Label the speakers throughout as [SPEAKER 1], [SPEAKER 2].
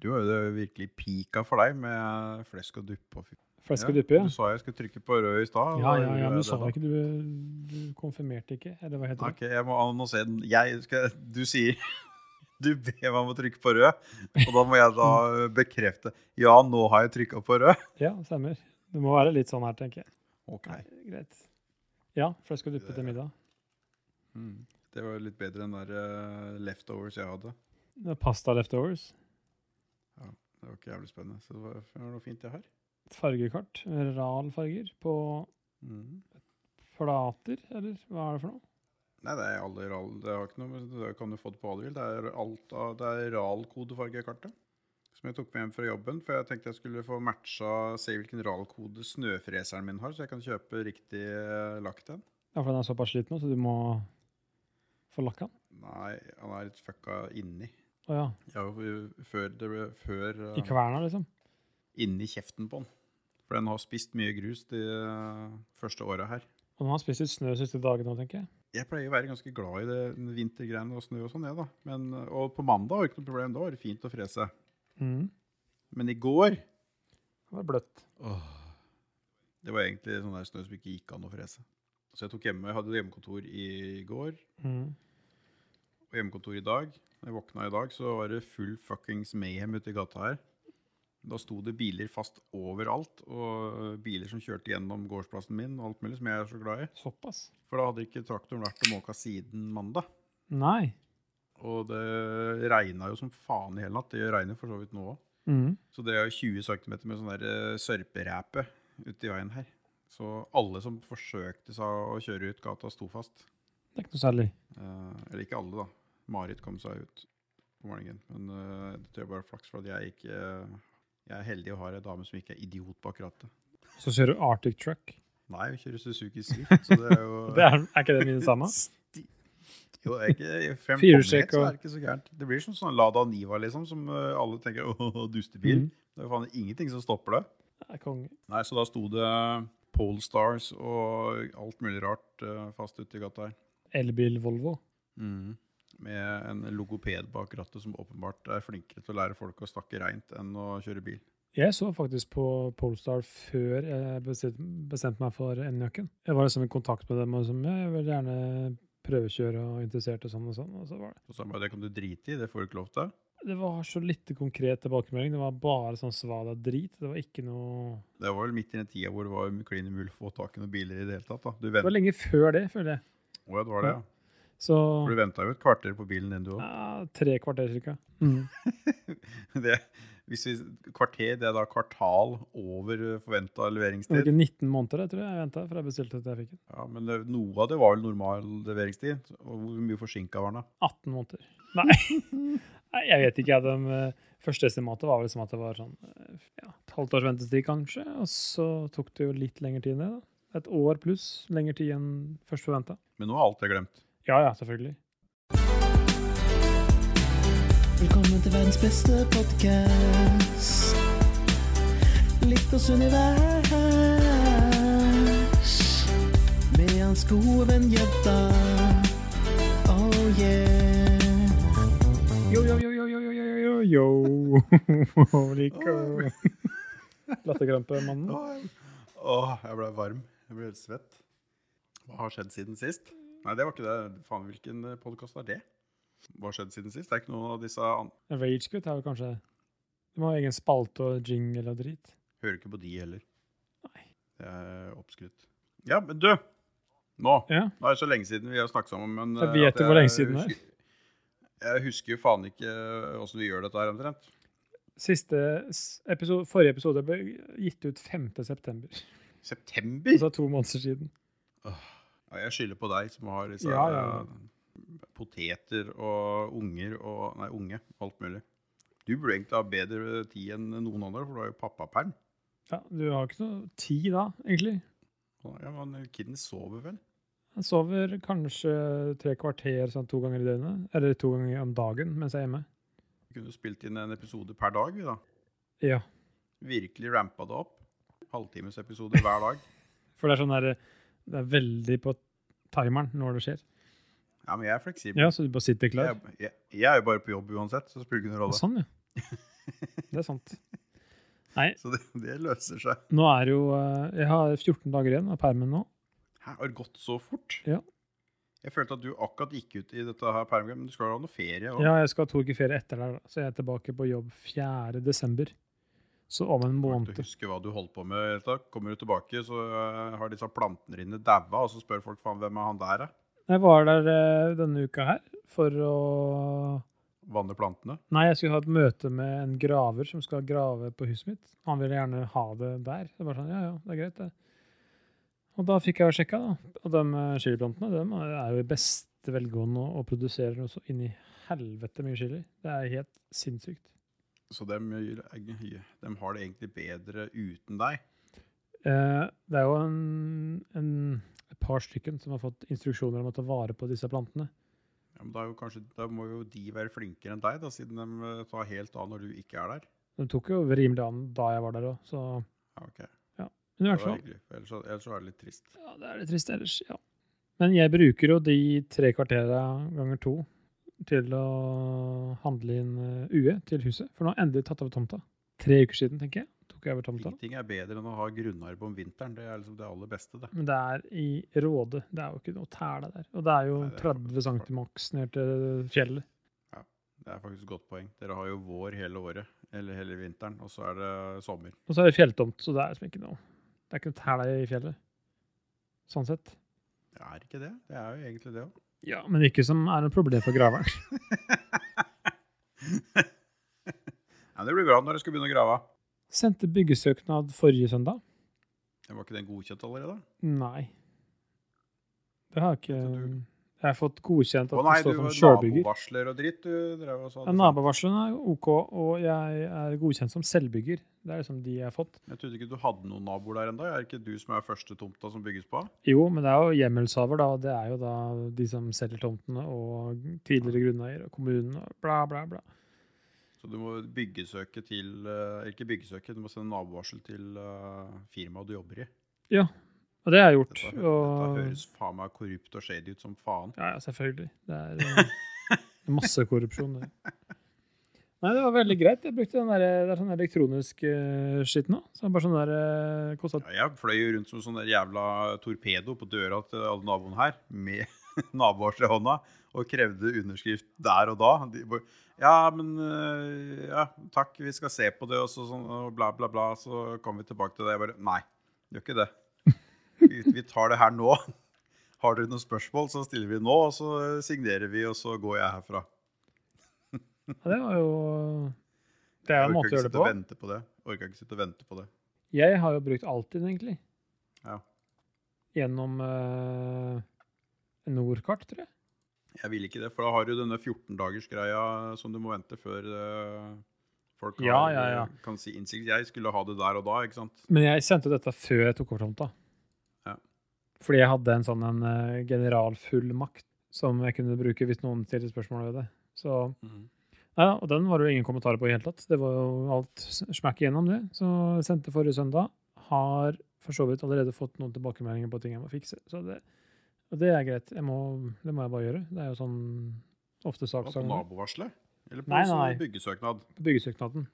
[SPEAKER 1] Du har jo det virkelig pika for deg med eh, flesk og duppe. og fy-
[SPEAKER 2] Flesk og
[SPEAKER 1] Ja,
[SPEAKER 2] duppe, ja.
[SPEAKER 1] Du sa jeg skulle trykke på rød i stad. og
[SPEAKER 2] Ja, ja,
[SPEAKER 1] gjorde jeg
[SPEAKER 2] ja, men du
[SPEAKER 1] det
[SPEAKER 2] sa
[SPEAKER 1] da.
[SPEAKER 2] ikke, du, du konfirmerte ikke, eller hva heter det?
[SPEAKER 1] Ok, jeg må annonsere den. Jeg skal, du sier Du ber meg om å trykke på rød, og da må jeg da bekrefte Ja, nå har jeg trykka på rød.
[SPEAKER 2] Ja, stemmer. Det må være litt sånn her, tenker jeg.
[SPEAKER 1] Ok.
[SPEAKER 2] Nei, greit. Ja, flesk og duppe til middag.
[SPEAKER 1] Mm. Det var litt bedre enn der eh, leftovers jeg hadde.
[SPEAKER 2] Det er Pasta leftovers.
[SPEAKER 1] Det var ikke jævlig spennende. Så det var, det var noe fint, det her.
[SPEAKER 2] Et fargekart. Ralfarger på
[SPEAKER 1] Mm.
[SPEAKER 2] plater, eller hva er det for noe?
[SPEAKER 1] Nei, det er alle ral... Det har ikke noe med Det kan du få det på hva du vil. Det er, alt av, det er RAL-kodefargekartet. Som jeg tok med hjem fra jobben, for jeg tenkte jeg skulle få matcha Se hvilken RAL-kode snøfreseren min har, så jeg kan kjøpe riktig eh, lakk til den.
[SPEAKER 2] Ja, for den er såpass slitt nå, så du må få lakka den.
[SPEAKER 1] Nei, han er litt fucka inni.
[SPEAKER 2] Å ja.
[SPEAKER 1] Ja, før det ble Før eh,
[SPEAKER 2] I kverna, liksom.
[SPEAKER 1] Inni kjeften på han. For den har spist mye grus de eh, første åra her.
[SPEAKER 2] Og den har spist litt snø de siste dagene nå, tenker jeg.
[SPEAKER 1] Jeg pleier å være ganske glad i det den vintergreiene og snø og sånn, jeg, da. Men, og på mandag var det ikke noe problem. Da var det fint å frese.
[SPEAKER 2] Mm.
[SPEAKER 1] Men i går
[SPEAKER 2] Det var bløtt.
[SPEAKER 1] Det var egentlig sånn der snø som ikke gikk an å frese. Så jeg tok hjemme, jeg hadde hjemmekontor i går
[SPEAKER 2] Mm.
[SPEAKER 1] og hjemmekontor i dag. Når jeg våkna i dag, så var det full fuckings mayhem ute i gata her. Da sto det biler fast overalt, og biler som kjørte gjennom gårdsplassen min og alt mulig, som jeg er så glad i.
[SPEAKER 2] Såpass.
[SPEAKER 1] For da hadde ikke traktoren vært og måka siden mandag.
[SPEAKER 2] Nei.
[SPEAKER 1] Og det regna jo som faen i hele natt. Det regner for så vidt nå òg.
[SPEAKER 2] Mm.
[SPEAKER 1] Så det er jo 20 cm med sånn der eh, sørperæpe ute i veien her. Så alle som forsøkte seg å kjøre ut gata, sto fast.
[SPEAKER 2] Det er ikke noe særlig.
[SPEAKER 1] Eh, eller ikke alle, da. Marit kom seg ut på morgenen. Men eh, det tror jeg bare er flaks, for at jeg ikke eh, Jeg er heldig og har ei dame som ikke er idiot bak rattet.
[SPEAKER 2] Så kjører du Arctic Truck.
[SPEAKER 1] Nei, hun kjører Suzuki Swift, så det er jo
[SPEAKER 2] Det er, er ikke det mine samme?
[SPEAKER 1] Sti- Jo, det er ikke i fem
[SPEAKER 2] Firehjulstrekk
[SPEAKER 1] tomhet, så
[SPEAKER 2] og-
[SPEAKER 1] er det ikke så gærent. Det blir som sånn Lada Niva, liksom, som eh, alle tenker åh, dustebil.
[SPEAKER 2] Mhm.
[SPEAKER 1] Det er jo faen ingenting som stopper det.
[SPEAKER 2] Det er konge.
[SPEAKER 1] Nei, så da sto det Polestars og alt mulig rart eh, fast ute i gata her.
[SPEAKER 2] Elbil Volvo.
[SPEAKER 1] Med en logoped bak rattet som åpenbart er flinkere til å lære folk å snakke reint enn å kjøre bil.
[SPEAKER 2] Jeg så faktisk på Polestar før jeg bestem- bestemte meg for N-nøkken. Jeg var liksom i kontakt med dem og liksom, «Ja, jeg vil gjerne prøvekjøre og interessert og sånn og sånn. Og så var det.
[SPEAKER 1] Så sa han bare det kan du drite i, det får du ikke lov til.
[SPEAKER 2] det var så lite konkret tilbakemelding. Det var bare sånn svada drit. Det var ikke noe
[SPEAKER 1] Det var vel midt i den tida hvor det var klin umulig å få tak i noen biler i det hele tatt. da. Du
[SPEAKER 2] Det var
[SPEAKER 1] vent...
[SPEAKER 2] lenge før det, føler jeg.
[SPEAKER 1] Å ja, det var det, ja.
[SPEAKER 2] Så
[SPEAKER 1] For Du venta jo et kvarter på bilen din, du òg.
[SPEAKER 2] ja, tre kvarter cirka. Mm.
[SPEAKER 1] Det- Hvis vi Kvarter, det er da kvartal over forventa
[SPEAKER 2] Det var
[SPEAKER 1] leveringstid.
[SPEAKER 2] ikke 19 måneder jeg tror jeg jeg venta fra jeg bestilte til jeg fikk den.
[SPEAKER 1] Ja, Men det, noe av det var vel normal leveringstid. Og hvor mye forsinka var den, da?
[SPEAKER 2] 18 måneder. Nei, Nei jeg vet ikke. jeg. De eh, første estimatet var vel som at det var sånn eh, ja, et halvt års ventetid, kanskje. Og så tok det jo litt lengre tid enn det. da. Et år pluss lengre tid enn først forventa.
[SPEAKER 1] Men nå er alt jeg glemt.
[SPEAKER 2] Ja ja, selvfølgelig.
[SPEAKER 3] Velkommen til verdens beste podkast. Litters univers. Med hans gode venn Gjedda. Oh yeah.
[SPEAKER 2] Yo, yo, yo, yo, yo, yo, yo, yo, yo. Like, Latterkrampemannen.
[SPEAKER 1] Åh, åh, jeg ble varm. Jeg ble helt svett. Hva har skjedd siden sist? Nei, det var ikke det. Faen, hvilken podkast er det? Hva har skjedd siden sist? Det er ikke noen av disse an...
[SPEAKER 2] Ragequit er vel kanskje De må ha egen spalte og jingle og drit.
[SPEAKER 1] Hører ikke på de heller.
[SPEAKER 2] Nei.
[SPEAKER 1] Det er oppskrytt. Ja, men du! Nå.
[SPEAKER 2] Ja.
[SPEAKER 1] Nå er det så lenge siden vi har snakket sammen, men
[SPEAKER 2] Så
[SPEAKER 1] eh,
[SPEAKER 2] vet
[SPEAKER 1] at
[SPEAKER 2] du hvor lenge siden det er?
[SPEAKER 1] husker- Jeg husker jo faen ikke eh, åssen vi gjør dette her, omtrent.
[SPEAKER 2] Siste s- episode, forrige episode ble gitt ut 5.9.,
[SPEAKER 1] September?
[SPEAKER 2] altså to måneder siden.
[SPEAKER 1] Ja, jeg skylder på deg som har disse
[SPEAKER 2] Ja, ja, ja.
[SPEAKER 1] eh, poteter og unger og Nei, unge. Alt mulig. Du burde egentlig ha bedre tid enn noen andre, for du har jo pappaperm.
[SPEAKER 2] Ja, du har ikke noe tid da, egentlig.
[SPEAKER 1] Ja, men kiden sover vel?
[SPEAKER 2] Jeg sover kanskje tre kvarter sånn to ganger i døgnet, eller to ganger om dagen mens jeg er hjemme.
[SPEAKER 1] Vi kunne spilt inn en episode per dag, vi da.
[SPEAKER 2] Ja,
[SPEAKER 1] Virkelig rampa det opp. Halvtimesepisoder hver dag.
[SPEAKER 2] for det er sånn der, det er veldig på timeren når det skjer.
[SPEAKER 1] Ja, men jeg er fleksibel.
[SPEAKER 2] Ja, så du bare sitter klar.
[SPEAKER 1] Jeg, jeg, jeg er jo bare på jobb uansett, så det spiller ikke noen rolle.
[SPEAKER 2] Sånn, ja. det er sant.
[SPEAKER 1] Så det, det løser seg.
[SPEAKER 2] Nå er jo eh, Jeg har 14 dager igjen av permen nå.
[SPEAKER 1] Hæ, har det gått så fort?
[SPEAKER 2] Ja.
[SPEAKER 1] Jeg følte at du akkurat gikk ut i dette her permgreiet, men du skal jo ha noe ferie òg.
[SPEAKER 2] Ja, jeg skal ha to uker ferie etter der, da. så jeg er tilbake på jobb 4. desember. Så om en
[SPEAKER 1] Du
[SPEAKER 2] måned.
[SPEAKER 1] husker hva du holdt på med. helt da. Kommer du tilbake, så eh, har disse plantene dine daua, og så spør folk faen hvem er han der, da?
[SPEAKER 2] Jeg var der eh, denne uka her for å
[SPEAKER 1] Vanner plantene.
[SPEAKER 2] Nei, jeg skulle ha et møte med en graver som skal grave på huset mitt. Han ville gjerne ha det der. Det var sånn, ja, ja, det er greit, det. Og da fikk jeg jo sjekka, da. Og de eh, chiliplantene de er jo i beste velgående og- og produserer noe så inni helvete mye chili. Det er helt sinnssykt.
[SPEAKER 1] Så dem, eh, dem har det egentlig bedre uten deg.
[SPEAKER 2] Eh, det er jo en, en, et par stykken som har fått instruksjoner om å ta vare på disse plantene.
[SPEAKER 1] Ja, men da, er jo kanskje, da må jo de være flinkere enn deg, da, siden de eh, tar helt av når du ikke er der.
[SPEAKER 2] De tok jo rimelig an da jeg var der òg, så
[SPEAKER 1] Ja, ok.
[SPEAKER 2] Men i
[SPEAKER 1] Det
[SPEAKER 2] hvert
[SPEAKER 1] var
[SPEAKER 2] fall.
[SPEAKER 1] hyggelig. for Ellers, så- ellers så er det litt trist.
[SPEAKER 2] Ja, det er litt trist ellers, ja. Men jeg bruker jo de tre kvartera ganger to til å handle inn eh, UE til huset, for nå har jeg endelig tatt over tomta. Tre uker siden, tenker jeg, tok jeg over tomta.
[SPEAKER 1] Ingenting er bedre enn å ha grunnarbeid om vinteren. Det er liksom det aller beste, det.
[SPEAKER 2] Men det er i Råde, det er jo ikke noe tæle der. Og det er jo
[SPEAKER 1] Nei, det er for-
[SPEAKER 2] 30 cm maks ned til fjellet.
[SPEAKER 1] Det er faktisk et godt poeng. Dere har jo vår hele året, eller hele vinteren, og så er det sommer.
[SPEAKER 2] Og så er det fjelltomt, så det er liksom ikke noe Det er ikke noe tæla i fjellet. Sånn sett.
[SPEAKER 1] Det er ikke det. Det er jo egentlig det òg.
[SPEAKER 2] Ja, men ikke som er noe problem for graveren.
[SPEAKER 1] Ja, det blir bra når dere skal begynne å grave.
[SPEAKER 2] Sendte byggesøknad forrige søndag.
[SPEAKER 1] Var ikke den godkjent allerede?
[SPEAKER 2] Nei. Det har jeg ikke
[SPEAKER 1] Vent, du-
[SPEAKER 2] Jeg har fått godkjent at
[SPEAKER 1] Å nei,
[SPEAKER 2] det
[SPEAKER 1] du altså.
[SPEAKER 2] står
[SPEAKER 1] var
[SPEAKER 2] som sjølbygger.
[SPEAKER 1] nabovarsler og dritt. Du drev og sa sånn.
[SPEAKER 2] Ja, Nabovarslene er jo OK, og jeg er godkjent som selvbygger. Det er liksom de jeg har fått.
[SPEAKER 1] Jeg trodde ikke du hadde noen naboer der ennå. Er det ikke du som er første tomta som bygges på?
[SPEAKER 2] Jo, men det er jo hjemmelshaver, da. og Det er jo da de som selger tomtene, og tidligere grunneier, og kommunen, og bla, bla, bla.
[SPEAKER 1] Så du må byggesøke til eh, Ikke byggesøke, du må sende nabovarsel til eh, firmaet du jobber i.
[SPEAKER 2] Og det har jeg gjort.
[SPEAKER 1] Dette, hø- dette
[SPEAKER 2] og...
[SPEAKER 1] høres faen meg korrupt og shady ut som faen.
[SPEAKER 2] Ja, ja, selvfølgelig. Det er eh, masse korrupsjon. Det. Nei, det var veldig greit. Jeg brukte den der, det er sånn elektronisk uh, skitt nå. Så det er bare sånn der eh, kostet,
[SPEAKER 1] Ja, jeg fløy jo rundt som sånn der jævla torpedo på døra til alle naboene her, med nabovarsel i hånda, og krevde underskrift der og da. De bare, ja, men øh, ja, takk, vi skal se på det, og så sånn, og bla, bla, bla. Så kommer vi tilbake til det. Jeg bare Nei, gjør ikke det. Vi, vi tar det her nå. Har dere noen spørsmål, så stiller vi nå, og så signerer vi, og så går jeg herfra.
[SPEAKER 2] ja, det var jo Det er jo en måte å gjøre det
[SPEAKER 1] Orka ikke sitte og vente
[SPEAKER 2] på.
[SPEAKER 1] på det. Orka ikke sitte og vente på det.
[SPEAKER 2] Jeg har jo brukt Altinn, egentlig.
[SPEAKER 1] Ja.
[SPEAKER 2] Gjennom uh, Nordkart, tror jeg.
[SPEAKER 1] Jeg vil ikke det, for da har du denne 14-dagers-greia som du må vente før eh, folk har, eh,
[SPEAKER 2] Ja, ja, ja.
[SPEAKER 1] kan si innsikt. Jeg skulle ha det der og da, ikke sant?
[SPEAKER 2] Men jeg sendte jo dette før jeg tok over tomta.
[SPEAKER 1] Ja.
[SPEAKER 2] Fordi jeg hadde en sånn en eh, generalfullmakt som jeg kunne bruke hvis noen stilte spørsmål ved det. Så Ja, og den var det jo ingen kommentarer på i hele tatt. Det var jo alt smakk igjennom det. Så jeg sendte forrige søndag. Har for så vidt allerede fått noen tilbakemeldinger på ting jeg må fikse. Så det, og det er greit. Jeg må, det må jeg bare gjøre. Det er jo sånn ofte
[SPEAKER 1] Hva, På
[SPEAKER 2] sakssanger.
[SPEAKER 1] nabovarselet? Eller på
[SPEAKER 2] Nei,
[SPEAKER 1] sånn
[SPEAKER 2] nei.
[SPEAKER 1] byggesøknad?
[SPEAKER 2] Byggesøknaden.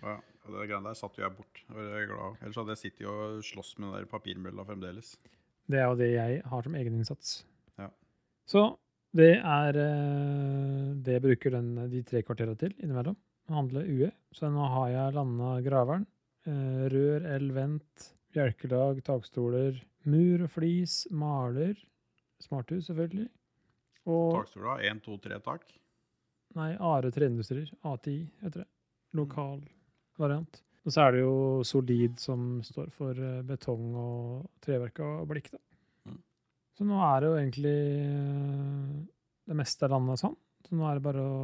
[SPEAKER 1] Ja, og det greiene der satt jo jeg bort. Det var jeg glad. for. Ellers hadde jeg sittet og slåss med den der papirmølla fremdeles.
[SPEAKER 2] Det er jo det jeg har som egeninnsats.
[SPEAKER 1] Ja.
[SPEAKER 2] Så det er eh, det jeg bruker den, de tre kvartera til innimellom. Handle UE. Så nå har jeg landa graveren. eh, Rør, elvent, bjelkelag, takstoler, mur og flis, maler. Smarthus, selvfølgelig. Og
[SPEAKER 1] Takstola, én, to, tre, takk.
[SPEAKER 2] nei, Are Treindustrier. ATI, heter det.
[SPEAKER 1] Mm.
[SPEAKER 2] Lokal variant. Og så er det jo Solid som står for eh, betong og treverk og blikk, da.
[SPEAKER 1] Mm.
[SPEAKER 2] Så nå er det jo egentlig eh, det meste av landet sånn. Så nå er det bare å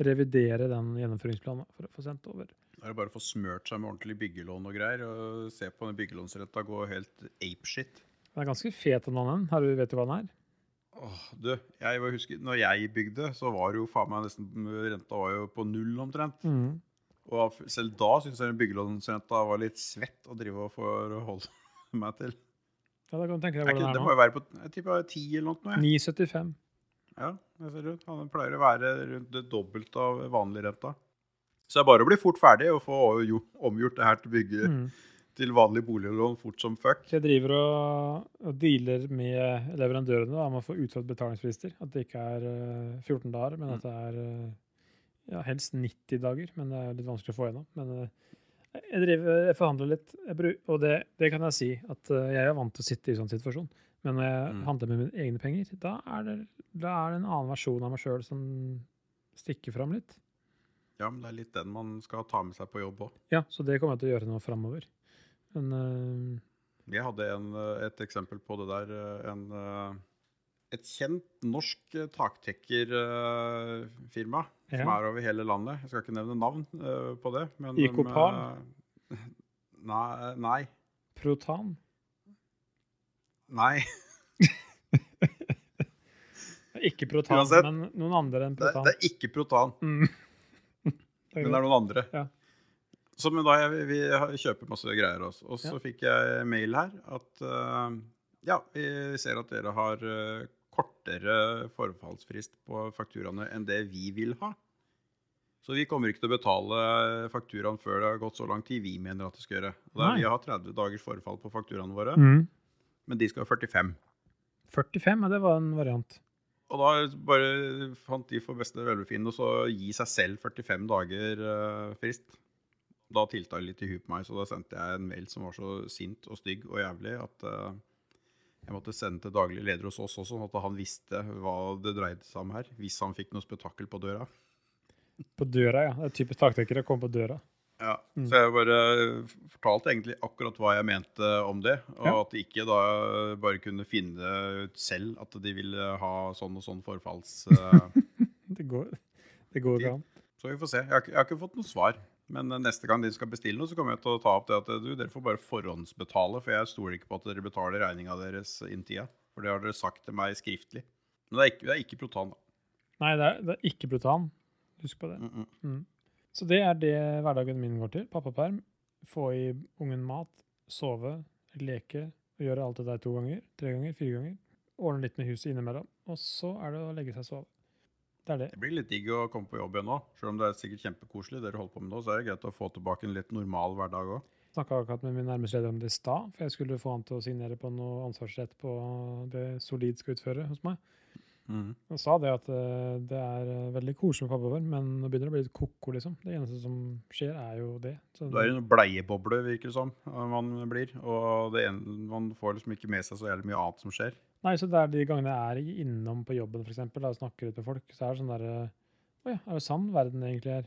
[SPEAKER 2] revidere den gjennomføringsplanen for å få sendt over.
[SPEAKER 1] Da er det bare å få smørt seg med ordentlig byggelån og greier, og se på den byggelånsretta gå helt apeshit.
[SPEAKER 2] Den er ganske fet, den mannen. Her vet du hva den er?
[SPEAKER 1] Åh, du, jeg var- husker, når jeg bygde, så var det jo faen meg nesten Renta var jo på null omtrent. Og f- selv da syns jeg den byggelånsrenta var litt svett å drive og forholde meg til.
[SPEAKER 2] Ja, da kan du tenke
[SPEAKER 1] Er
[SPEAKER 2] deg hvor
[SPEAKER 1] ikke,
[SPEAKER 2] den
[SPEAKER 1] det
[SPEAKER 2] er
[SPEAKER 1] må
[SPEAKER 2] nå.
[SPEAKER 1] jo være på jeg tipper det er 10 eller noe. jeg.
[SPEAKER 2] 9,75.
[SPEAKER 1] Ja, det ser ut. Ja, Den pleier å være rundt det dobbelte av vanlig renta. Så det er bare å bli fort ferdig og få jo- omgjort det her til bygge
[SPEAKER 2] Mm.
[SPEAKER 1] til vanlig boliglån fort som fuck.
[SPEAKER 2] Så jeg driver og, og dealer med leverandørene da, om å få utsatt betalingsfrister. At det ikke er eh, 14 dager, men
[SPEAKER 1] Mm.
[SPEAKER 2] at det er eh, ja, helst 90 dager. Men det er litt vanskelig å få gjennom. Men eh, jeg, driver, jeg forhandler litt, jeg bru- og det, det kan jeg si at eh, jeg er vant til å sitte i sånn situasjon. Men når jeg
[SPEAKER 1] Mm.
[SPEAKER 2] handler med mine egne penger, da er, det, da er det en annen versjon av meg sjøl som stikker fram litt.
[SPEAKER 1] Ja, men det er litt den man skal ta med seg på jobb òg.
[SPEAKER 2] Ja, så det kommer jeg til å gjøre nå framover. Men eh,
[SPEAKER 1] Jeg hadde en, eh, et eksempel på det der. eh, En, eh, et kjent norsk eh, taktekkerfirma som
[SPEAKER 2] Ja.
[SPEAKER 1] er over hele landet. Jeg skal ikke nevne navn eh, på det. Men de,
[SPEAKER 2] IK Pan?
[SPEAKER 1] eh, Nei. Nei.
[SPEAKER 2] eh, Protan
[SPEAKER 1] nei.
[SPEAKER 2] Ikke Protan,
[SPEAKER 1] Uansett.
[SPEAKER 2] men noen andre enn
[SPEAKER 1] Det, er-
[SPEAKER 2] Protan.
[SPEAKER 1] det er ikke Protan.
[SPEAKER 2] Mm. Det er
[SPEAKER 1] Men det
[SPEAKER 2] greit.
[SPEAKER 1] er noen andre.
[SPEAKER 2] Ja.
[SPEAKER 1] Så men da jeg, vi har- kjøper masse greier også. Og så
[SPEAKER 2] Ja.
[SPEAKER 1] fikk jeg mail her at eh, ja, vi ser at dere har eh, kortere forfallsfrist på fakturaene enn det vi vil ha. Så vi kommer ikke til å betale fakturaen før det har gått så lang tid vi mener at det skal gjøre. Og da,
[SPEAKER 2] Nei.
[SPEAKER 1] vi har 30 dagers forfall på fakturaene våre,
[SPEAKER 2] Mm.
[SPEAKER 1] men de skal ha 45.
[SPEAKER 2] 45, ja, det var en variant.
[SPEAKER 1] Og da bare fant de for beste velbefinnende og så gi seg selv 45 dager eh, frist. Da tilta det litt i huet på meg, så da sendte jeg en mail som var så sint og stygg og jævlig at eh, jeg måtte sende til daglig leder hos oss også, sånn at han visste hva det dreide seg om her. Hvis han fikk noe spetakkel på døra.
[SPEAKER 2] På døra, ja. Det er typisk taktekkere å komme på døra.
[SPEAKER 1] Ja,
[SPEAKER 2] Mm.
[SPEAKER 1] Så jeg bare fortalte egentlig akkurat hva jeg mente om det. Og
[SPEAKER 2] Ja.
[SPEAKER 1] at de ikke da bare kunne finne ut selv at de ville ha sånn og sånn forfalls... eh,
[SPEAKER 2] Det går, det går ikke an.
[SPEAKER 1] Så vi får se. Jeg har, ikke- jeg har ikke fått noe svar. Men eh, neste gang de skal bestille noe, så kommer jeg til å ta opp det at eh, du, dere får bare forhåndsbetale, for jeg stoler ikke på at dere betaler regninga deres innen tida. For det har dere sagt til meg skriftlig. Men det er ikke, det er ikke Protan, da.
[SPEAKER 2] Nei, det er, det er ikke Protan. Husk på det.
[SPEAKER 1] Mm -mm.
[SPEAKER 2] Så det er det hverdagen min går til. Pappaperm, få i ungen mat, sove, leke og gjøre alt det der to ganger, tre ganger, fire ganger. Ordne litt med huset innimellom. Og så er det å legge seg og sove. Det er det.
[SPEAKER 1] Det blir litt digg å komme på jobb igjen nå. Selv om det er sikkert kjempekoselig, dere holder på med nå, så er det greit å få tilbake en litt normal hverdag òg.
[SPEAKER 2] Snakka akkurat med min nærmeste leder om det i stad, for jeg skulle få han til å signere på noe ansvarsrett på det Solid skal utføre hos meg.
[SPEAKER 1] Mm.
[SPEAKER 2] Han sa det at eh, det er eh, veldig koselig med pappaperm, men nå begynner det å bli litt ko-ko, liksom. Det eneste som skjer, er jo det. Så
[SPEAKER 1] Du er i en bleieboble, virker det som, eh, man blir. Og det ene, man får liksom ikke med seg så jævlig mye annet som skjer.
[SPEAKER 2] Nei, så det er de gangene jeg er innom på jobben, f.eks., og snakker ut med folk, så er det sånn derre Å ja, er det sann verden egentlig er?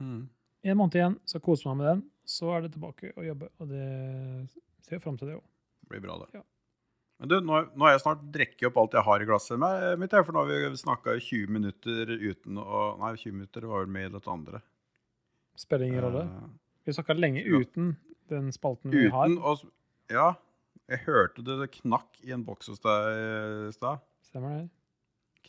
[SPEAKER 1] Mm.
[SPEAKER 2] En måned igjen, så koser man med den. Så er det tilbake å jobbe, og det ser jo fram til det òg.
[SPEAKER 1] blir bra, det.
[SPEAKER 2] Ja.
[SPEAKER 1] Men du, nå, nå har jeg snart drukket opp alt jeg har i glasset med- eh, mitt, jeg, for nå har vi snakka i 20 minutter uten å Nei, 20 minutter var vel med i dette andre.
[SPEAKER 2] Spiller ingen rolle.
[SPEAKER 1] Eh,
[SPEAKER 2] Vi snakka lenge
[SPEAKER 1] ja.
[SPEAKER 2] uten den spalten vi har.
[SPEAKER 1] uten å s- Ja. Jeg hørte det, det knakk i en boks hos deg eh, i stad.
[SPEAKER 2] Stemmer det?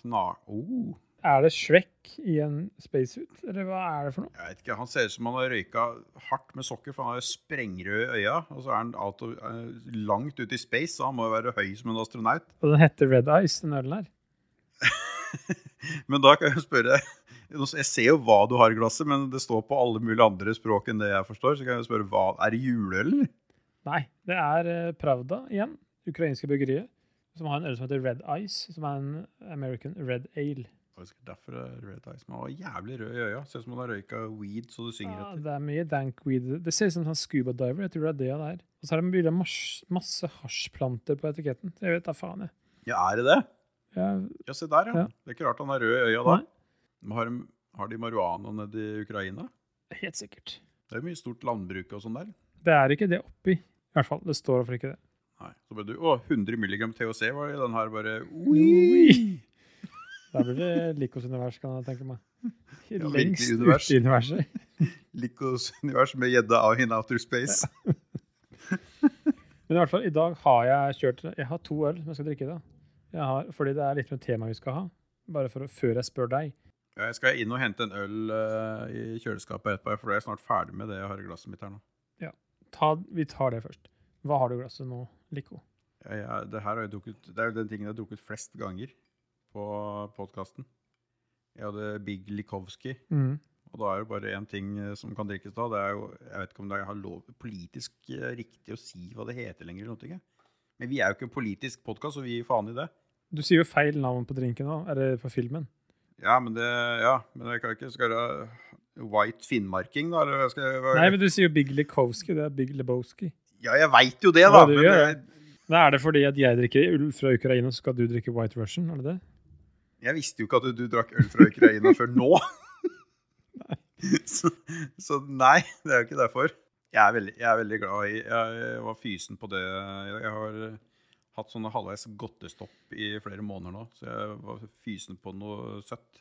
[SPEAKER 1] Kna... Oh.
[SPEAKER 2] Er det Shrek i en spacesuit, eller hva er det for noe?
[SPEAKER 1] Jeg vet ikke, Han ser ut som han har røyka hardt med sokker, for han har jo sprengrøde øya. Og så er han out of, eh, langt ute i space, så han må jo være høy som en astronaut.
[SPEAKER 2] Og den heter Red Eyes, den ølen her.
[SPEAKER 1] Men da kan jeg jo spørre Jeg ser jo hva du har i glasset, men det står på alle mulige andre språk enn det jeg forstår. Så kan jeg jo spørre hva er det juleøl? eller?
[SPEAKER 2] Nei, det er eh, Pravda igjen, ukrainske bryggeriet, som har en øl som heter Red Eyes, som er en American Red Ale.
[SPEAKER 1] Det er sikkert Derfor eh, er Red Eyes Man var jævlig rød i øya. Ser ut som han har røyka weed så du synger
[SPEAKER 2] Ja,
[SPEAKER 1] etter.
[SPEAKER 2] det er mye dankweed. Det ser ut som en sånn scuba diver, jeg tror det er det det er. Og så er det bilde av mars- masse hasjplanter på etiketten. Jeg vet da faen, jeg.
[SPEAKER 1] Ja, er det det?
[SPEAKER 2] jeg
[SPEAKER 1] Ja, se der, ja.
[SPEAKER 2] Ja.
[SPEAKER 1] Det er ikke rart han er rød i øya da.
[SPEAKER 2] Nei.
[SPEAKER 1] Men Har de, har de marihuana nede i Ukraina?
[SPEAKER 2] helt sikkert.
[SPEAKER 1] Det er mye stort landbruk og sånn der.
[SPEAKER 2] Det er ikke det oppi. I hvert fall, det står iallfall ikke det.
[SPEAKER 1] Nei. Så ble du Å, 100 milligram THC var det i den her, bare
[SPEAKER 2] Oi! Der blir det Likos univers, kan jeg tenke meg.
[SPEAKER 1] Ja,
[SPEAKER 2] Lengst
[SPEAKER 1] virkelig univers.
[SPEAKER 2] ute i universet.
[SPEAKER 1] Likos univers med gjedda av in outer space.
[SPEAKER 2] Men i hvert fall, i dag har jeg kjørt Jeg har to øl som jeg skal drikke i dag. Jeg har, fordi det er litt med tema vi skal ha. Bare for å, før jeg spør deg.
[SPEAKER 1] Ja, Jeg skal inn og hente en øl eh, i kjøleskapet etterpå, for da er jeg snart ferdig med det jeg har i glasset mitt her nå.
[SPEAKER 2] Ta, vi tar det først. Hva har du i glasset nå, Lico?
[SPEAKER 1] Jeg, jeg, det, her har jeg drukket, det er jo den tingen jeg har drukket flest ganger på podkasten. Jeg hadde Big Likowski, Og da er det bare én ting eh, som kan drikkes da. Det er jo, jeg vet ikke om det er lov, politisk eh, riktig å si hva det heter lenger. eller noe, ikke? Men vi er jo ikke en politisk podkast, så vi gir faen i det.
[SPEAKER 2] Du sier jo feil navn på drinken òg, eller på filmen.
[SPEAKER 1] Ja, men det, ja, men jeg kan ikke Skal det være white finnmarking, da? Eller hva skal jeg, hva,
[SPEAKER 2] Nei, men du sier jo Big Likowski. Det er Big Lebowski.
[SPEAKER 1] Ja, jeg veit jo det, da.
[SPEAKER 2] Hva du
[SPEAKER 1] men
[SPEAKER 2] gjør,
[SPEAKER 1] jeg,
[SPEAKER 2] Men er det fordi at jeg drikker ull fra Ukraina, så skal du drikke White Russian? Er det det?
[SPEAKER 1] jeg visste jo ikke at du, du drakk øl fra Ukraina før nå. så, så nei, det er jo ikke derfor. Jeg er veldig, jeg er veldig glad i Jeg var fysen på det. Jeg har hatt sånne halvveis godtestopp i flere måneder nå, så jeg var fysen på noe søtt.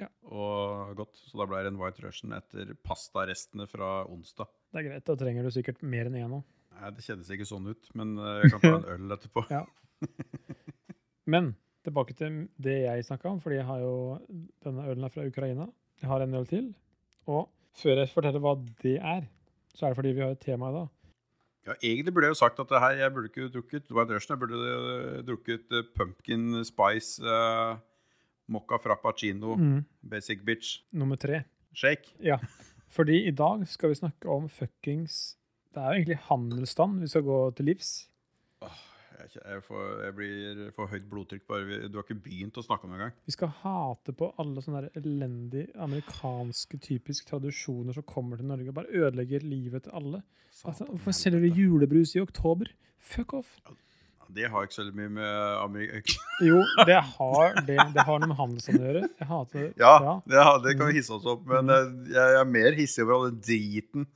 [SPEAKER 2] Ja.
[SPEAKER 1] Og godt, så da ble det en White Russian etter pastarestene fra onsdag.
[SPEAKER 2] Det er greit, da trenger du sikkert mer enn én nå.
[SPEAKER 1] Nei, Det kjennes ikke sånn ut, men eh, jeg kan ta en øl etterpå.
[SPEAKER 2] Men tilbake til det jeg snakka om, fordi jeg har jo denne ølen er fra Ukraina. Jeg har en øl til. Og før jeg forteller hva det er, så er det fordi vi har et tema i dag.
[SPEAKER 1] Ja, Egentlig burde jeg jo sagt at det her, jeg burde ikke drukket White Russian. Jeg burde eh, drukket eh, pumpkin spice eh, mocca frappuccino
[SPEAKER 2] Mm.
[SPEAKER 1] basic bitch
[SPEAKER 2] Nummer tre.
[SPEAKER 1] shake.
[SPEAKER 2] Ja. Fordi i dag skal vi snakke om fuckings Det er jo egentlig handelsstand vi skal gå til livs.
[SPEAKER 1] Jeg, kje- jeg, får, jeg blir får høyt blodtrykk bare vi, Du har ikke begynt å snakke om det engang.
[SPEAKER 2] Vi skal hate på alle sånne der elendige amerikanske typisk tradisjoner som kommer til Norge og bare ødelegger livet til alle. Altså,
[SPEAKER 1] Satan,
[SPEAKER 2] hvorfor selger
[SPEAKER 1] helvete.
[SPEAKER 2] du julebrus i oktober? Fuck off!
[SPEAKER 1] Det har ikke så veldig mye med Amerika
[SPEAKER 2] Jo, det har, det, det har noe med handelsstand å gjøre. Jeg hater det.
[SPEAKER 1] Ja,
[SPEAKER 2] Ja. Mm.
[SPEAKER 1] det, har- det kan vi hisse oss opp, men eh, jeg er mer hissig over all den driten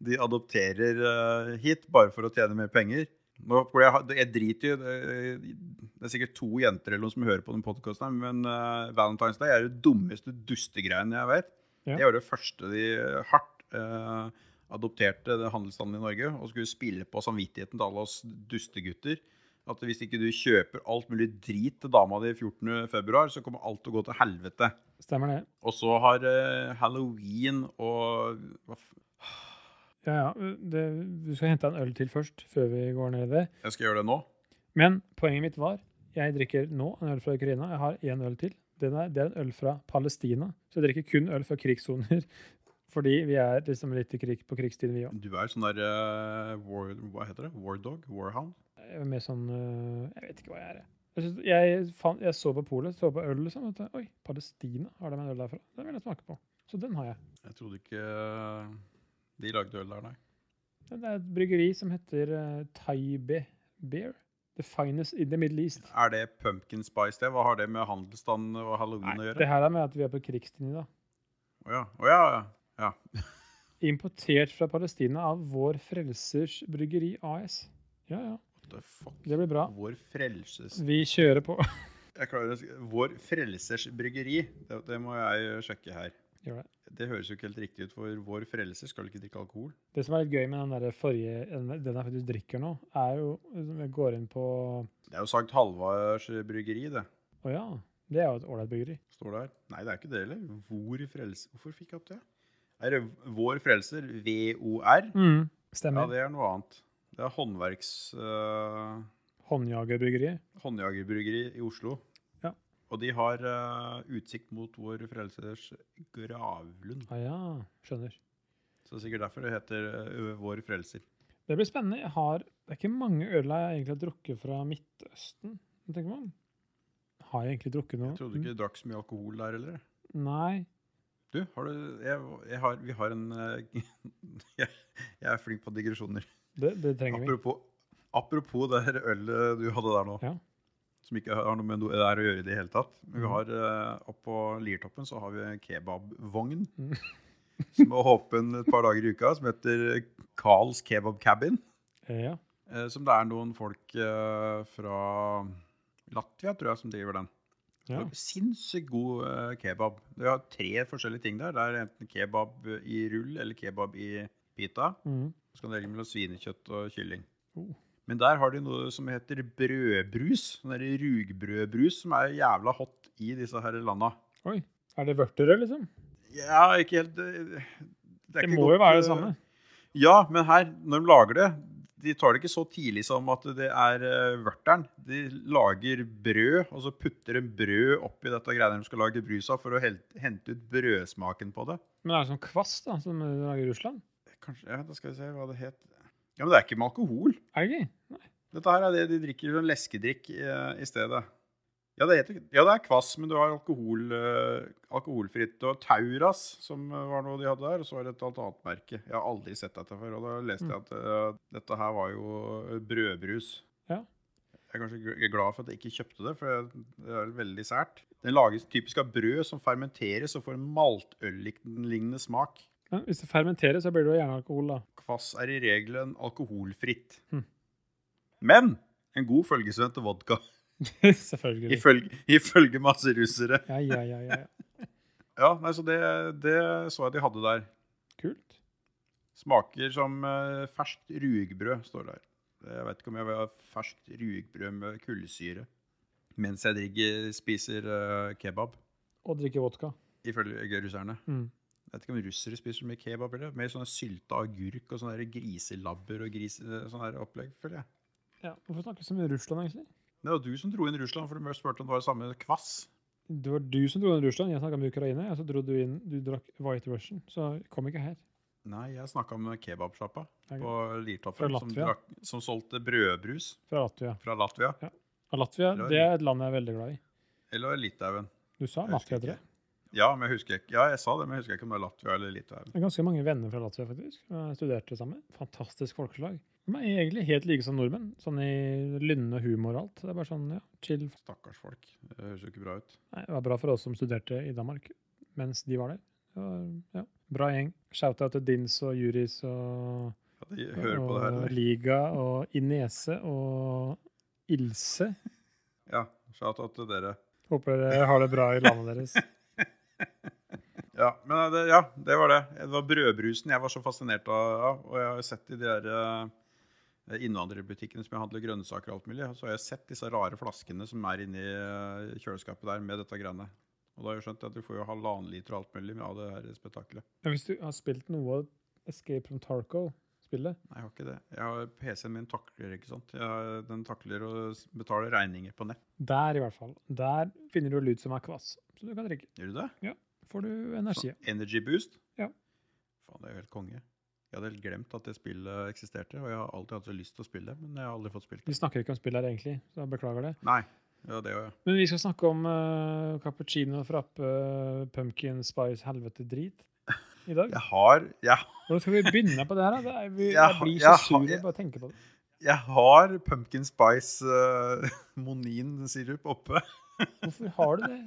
[SPEAKER 1] de adopterer eh, hit, bare for å tjene mer penger. Nå, for jeg, har- jeg driter jo det, det er sikkert to jenter eller noen som hører på den podkasten, men eh, Valentine's Day er det dummeste dustegreien jeg vet.
[SPEAKER 2] Ja.
[SPEAKER 1] Det var det første de hardt eh, adopterte det handelsstanden i Norge, og skulle spille på samvittigheten til alle oss dustegutter. At hvis ikke du kjøper alt mulig drit til dama di 14. februar, så kommer alt til å gå til helvete.
[SPEAKER 2] Stemmer det.
[SPEAKER 1] Og så har eh, halloween og hva f-
[SPEAKER 2] Ja, ja. Det, du skal hente en øl til først, før vi går ned i det.
[SPEAKER 1] Jeg skal gjøre det nå.
[SPEAKER 2] Men poenget mitt var jeg drikker nå en øl fra Ukraina. Jeg har én øl til. Den er, det er en øl fra Palestina. Så jeg drikker kun øl fra krigssoner. Fordi vi er liksom litt i krig på krigstiden, vi òg.
[SPEAKER 1] Du er sånn der eh, war, Hva heter det? Wardog? Warhound?
[SPEAKER 2] Med sånn øh, Jeg vet ikke hva jeg er. jeg. Jeg, synes, jeg, fant, jeg så på polet, så på øl, liksom. Vet du. Oi, Palestina har de en øl derfra. Den vil jeg smake på. Så den har jeg.
[SPEAKER 1] Jeg trodde ikke eh, de lagde øl der, nei.
[SPEAKER 2] Det er et bryggeri som heter uh, Taibe Beer. The finest in the Middle East.
[SPEAKER 1] Er det pumpkin spice, det? Hva har det med handelsstand og halloween å
[SPEAKER 2] det
[SPEAKER 1] gjøre?
[SPEAKER 2] her er med at vi er på krigstiden i dag.
[SPEAKER 1] Å ja. Å ja, ja. ja.
[SPEAKER 2] Importert fra Palestina av Vår Frelsers Bryggeri AS. Ja, ja.
[SPEAKER 1] What the fuck?
[SPEAKER 2] Det blir bra.
[SPEAKER 1] Vår frelses...
[SPEAKER 2] Vi kjører på.
[SPEAKER 1] Jeg klarer å sk- Vår frelsers bryggeri. Det, det må jeg sjekke her.
[SPEAKER 2] Gjør det.
[SPEAKER 1] Det høres jo ikke helt riktig ut, for vår frelser skal ikke drikke alkohol.
[SPEAKER 2] Det som er litt gøy med den der forrige, den den jeg faktisk drikker nå, er jo Jeg går inn på Å
[SPEAKER 1] Det er jo Sankt Halvards bryggeri, det.
[SPEAKER 2] ja. Det er jo et ålreit bryggeri.
[SPEAKER 1] Står det her? Nei, det er ikke det heller. Hvor frelser Hvorfor fikk jeg opp det? Er det Vår frelser, VOR? Ja,
[SPEAKER 2] Mm, Stemmer.
[SPEAKER 1] det er noe annet. Det er håndverks... eh,
[SPEAKER 2] Håndjagerbryggeriet.
[SPEAKER 1] håndjagerbryggeri i Oslo.
[SPEAKER 2] Ja.
[SPEAKER 1] Og de har eh, utsikt mot Vår frelsers gravlund.
[SPEAKER 2] Ah, ja. Skjønner.
[SPEAKER 1] Så det er sikkert derfor det heter eh, Vår frelser.
[SPEAKER 2] Det blir spennende. Jeg har, det er ikke mange øl jeg egentlig har drukket fra Midtøsten. Nå tenker man. Har jeg egentlig drukket noe?
[SPEAKER 1] Jeg trodde ikke du drakk så mye alkohol der heller.
[SPEAKER 2] Nei.
[SPEAKER 1] Du, har du jeg, jeg har, Vi har en eh, jeg, jeg er flink på digresjoner.
[SPEAKER 2] Det, det trenger vi.
[SPEAKER 1] Apropos, apropos det her ølet du hadde der nå.
[SPEAKER 2] Ja.
[SPEAKER 1] Som ikke har noe med noe det her å gjøre i det hele tatt. Men
[SPEAKER 2] Mhm.
[SPEAKER 1] vi har eh, Oppå Liertoppen så har vi en kebabvogn
[SPEAKER 2] Mhm.
[SPEAKER 1] som er åpen et par dager i uka, som heter Carls Kebab Cabin.
[SPEAKER 2] Eh, Ja.
[SPEAKER 1] eh, Som det er noen folk eh, fra Latvia, tror jeg, som driver den.
[SPEAKER 2] ja.
[SPEAKER 1] Og Sinnssykt god eh, kebab. Det har tre forskjellige ting der. Det er enten kebab i rull eller kebab i pita.
[SPEAKER 2] Mm.
[SPEAKER 1] Så kan du velge mellom svinekjøtt og kylling.
[SPEAKER 2] Oh.
[SPEAKER 1] Men der har de noe som heter brødbrus. Sånn der rugbrødbrus som er jævla hot i disse her landa.
[SPEAKER 2] Oi. Er det vørterøl, liksom?
[SPEAKER 1] Ja, ikke helt eh, Det, er
[SPEAKER 2] Det
[SPEAKER 1] ikke
[SPEAKER 2] må
[SPEAKER 1] godt,
[SPEAKER 2] jo være det
[SPEAKER 1] eh,
[SPEAKER 2] samme.
[SPEAKER 1] Ja, men her, når de lager det de tar det ikke så tidlig som at det er eh, vørteren. De lager brød, og så putter de brød oppi dette greiene de skal lage brus av, for å hel- hente ut brødsmaken på det.
[SPEAKER 2] Men er det sånn kvass da, som du lager i Russland?
[SPEAKER 1] Kanskje, ja, da skal vi se hva det het. Ja, men det er ikke med alkohol.
[SPEAKER 2] Er det ikke? Nei.
[SPEAKER 1] Dette her er det de drikker som leskedrikk i, i stedet. Ja det, heter, ja, det er kvass, men du har alkohol, eh, alkoholfritt. Du har Tauras, som eh, var noe de hadde der, og så var det et alt annet merke. Jeg har aldri sett dette før, og da leste
[SPEAKER 2] Mm.
[SPEAKER 1] jeg at eh, dette her var jo eh, brødbrus.
[SPEAKER 2] Ja.
[SPEAKER 1] Jeg er kanskje gl- glad for at jeg ikke kjøpte det, for jeg- det er veldig sært. Den lages typisk av brød som fermenteres og får en maltøllignende smak.
[SPEAKER 2] Men hvis det fermenterer, så blir det jo gjerne alkohol, da.
[SPEAKER 1] Kvass er i regelen alkoholfritt.
[SPEAKER 2] Hm.
[SPEAKER 1] Men en god følgesvenn til vodka,
[SPEAKER 2] Selvfølgelig.
[SPEAKER 1] ifølge, ifølge masse russere.
[SPEAKER 2] Ja, ja, ja, ja. ja.
[SPEAKER 1] Ja, nei, så det, det så jeg de hadde der.
[SPEAKER 2] Kult.
[SPEAKER 1] Smaker som eh, ferskt rugebrød, står det her. Jeg vet ikke om jeg vil ha ferskt rugebrød med kullsyre mens jeg drikker, spiser eh, kebab,
[SPEAKER 2] Og drikke vodka.
[SPEAKER 1] ifølge russerne.
[SPEAKER 2] Mm.
[SPEAKER 1] Jeg vet ikke om russere spiser så mye kebab, eller mer sånne sylta agurk og sånne der griselabber og gris, eh, sånne her opplegg, føler jeg.
[SPEAKER 2] Ja, Hvorfor snakker vi så mye om Russland, egentlig?
[SPEAKER 1] Det var du som dro inn Russland, for du spurte om det var samme kvass.
[SPEAKER 2] Det var du som dro inn i Russland, jeg snakka om Ukraina. Og så dro du inn Du drakk White Russian, så kom ikke her.
[SPEAKER 1] Nei, jeg snakka om kebabsjappa
[SPEAKER 2] Ok.
[SPEAKER 1] på
[SPEAKER 2] Fra
[SPEAKER 1] Lirtoppen som,
[SPEAKER 2] Latvia.
[SPEAKER 1] drakk- som solgte brødbrus
[SPEAKER 2] Fra Latvia.
[SPEAKER 1] fra Latvia.
[SPEAKER 2] Og Latvia
[SPEAKER 1] Det var
[SPEAKER 2] det er et land jeg er veldig glad i.
[SPEAKER 1] Eller Litauen.
[SPEAKER 2] Du sa
[SPEAKER 1] Jeg husker
[SPEAKER 2] Latvia, tror jeg.
[SPEAKER 1] ikke. Ja, men jeg husker ikke. Ja, jeg sa det, men jeg husker ikke om det er Latvia eller Litauen.
[SPEAKER 2] Jeg har ganske mange venner fra Latvia, faktisk. som Jeg studerte sammen. Fantastisk folkeslag. De er egentlig helt like som nordmenn, sånn i lynne humor og alt. Det er bare sånn, ja, chill.
[SPEAKER 1] Stakkars folk. Det høres jo ikke bra ut.
[SPEAKER 2] Nei, det var bra for oss som studerte i Danmark mens de var der. Det var, ja, bra gjeng. Shout-out til Dins og Juris og,
[SPEAKER 1] Ja, de hører på det her.
[SPEAKER 2] og
[SPEAKER 1] eller?
[SPEAKER 2] Liga og Inese og Ilse.
[SPEAKER 1] Ja, shout-out til dere.
[SPEAKER 2] Håper dere har det bra i landet deres.
[SPEAKER 1] Ja, men eh, det, ja, det var det. Det var brødbrusen jeg var så fascinert av. av, Og jeg har jo sett i de der eh, innvandrerbutikkene som jeg handler grønnsaker og alt mulig, så har jeg sett disse rare flaskene som er inni eh, kjøleskapet der med dette greiene. Og da har jeg skjønt at du får jo halvannen liter og alt mulig av det her spetakkelet.
[SPEAKER 2] Men hvis du har spilt noe av Escape from Tarco-spillet
[SPEAKER 1] Nei, jeg har ikke det. Jeg har PC-en min takler, ikke sant. Jeg, den takler og s- betaler regninger på nett.
[SPEAKER 2] Der, i hvert fall. Der finner du lyd som er kvass, så du kan drikke.
[SPEAKER 1] Gjør du det?
[SPEAKER 2] Får du energi.
[SPEAKER 1] Sånn Energy boost?
[SPEAKER 2] Ja.
[SPEAKER 1] Faen, det er jo helt konge. Jeg hadde helt glemt at det spillet eksisterte, og jeg har alltid hatt så lyst til å spille det, men jeg har aldri fått spilt
[SPEAKER 2] Vi
[SPEAKER 1] det.
[SPEAKER 2] snakker ikke om spill her, egentlig, så jeg beklager det.
[SPEAKER 1] Nei. Ja, det òg, ja.
[SPEAKER 2] Men vi skal snakke om eh, cappuccino, frappe, pumpkin spice, helvete drit i dag.
[SPEAKER 1] Jeg har, jeg,
[SPEAKER 2] Hvordan skal vi begynne på det her? da? Det er, vi,
[SPEAKER 1] Jeg har-
[SPEAKER 2] jeg blir så
[SPEAKER 1] jeg
[SPEAKER 2] sur
[SPEAKER 1] har-
[SPEAKER 2] av bare å tenke på det.
[SPEAKER 1] jeg har pumpkin spice eh, monin-sirup oppe.
[SPEAKER 2] Hvorfor har du det?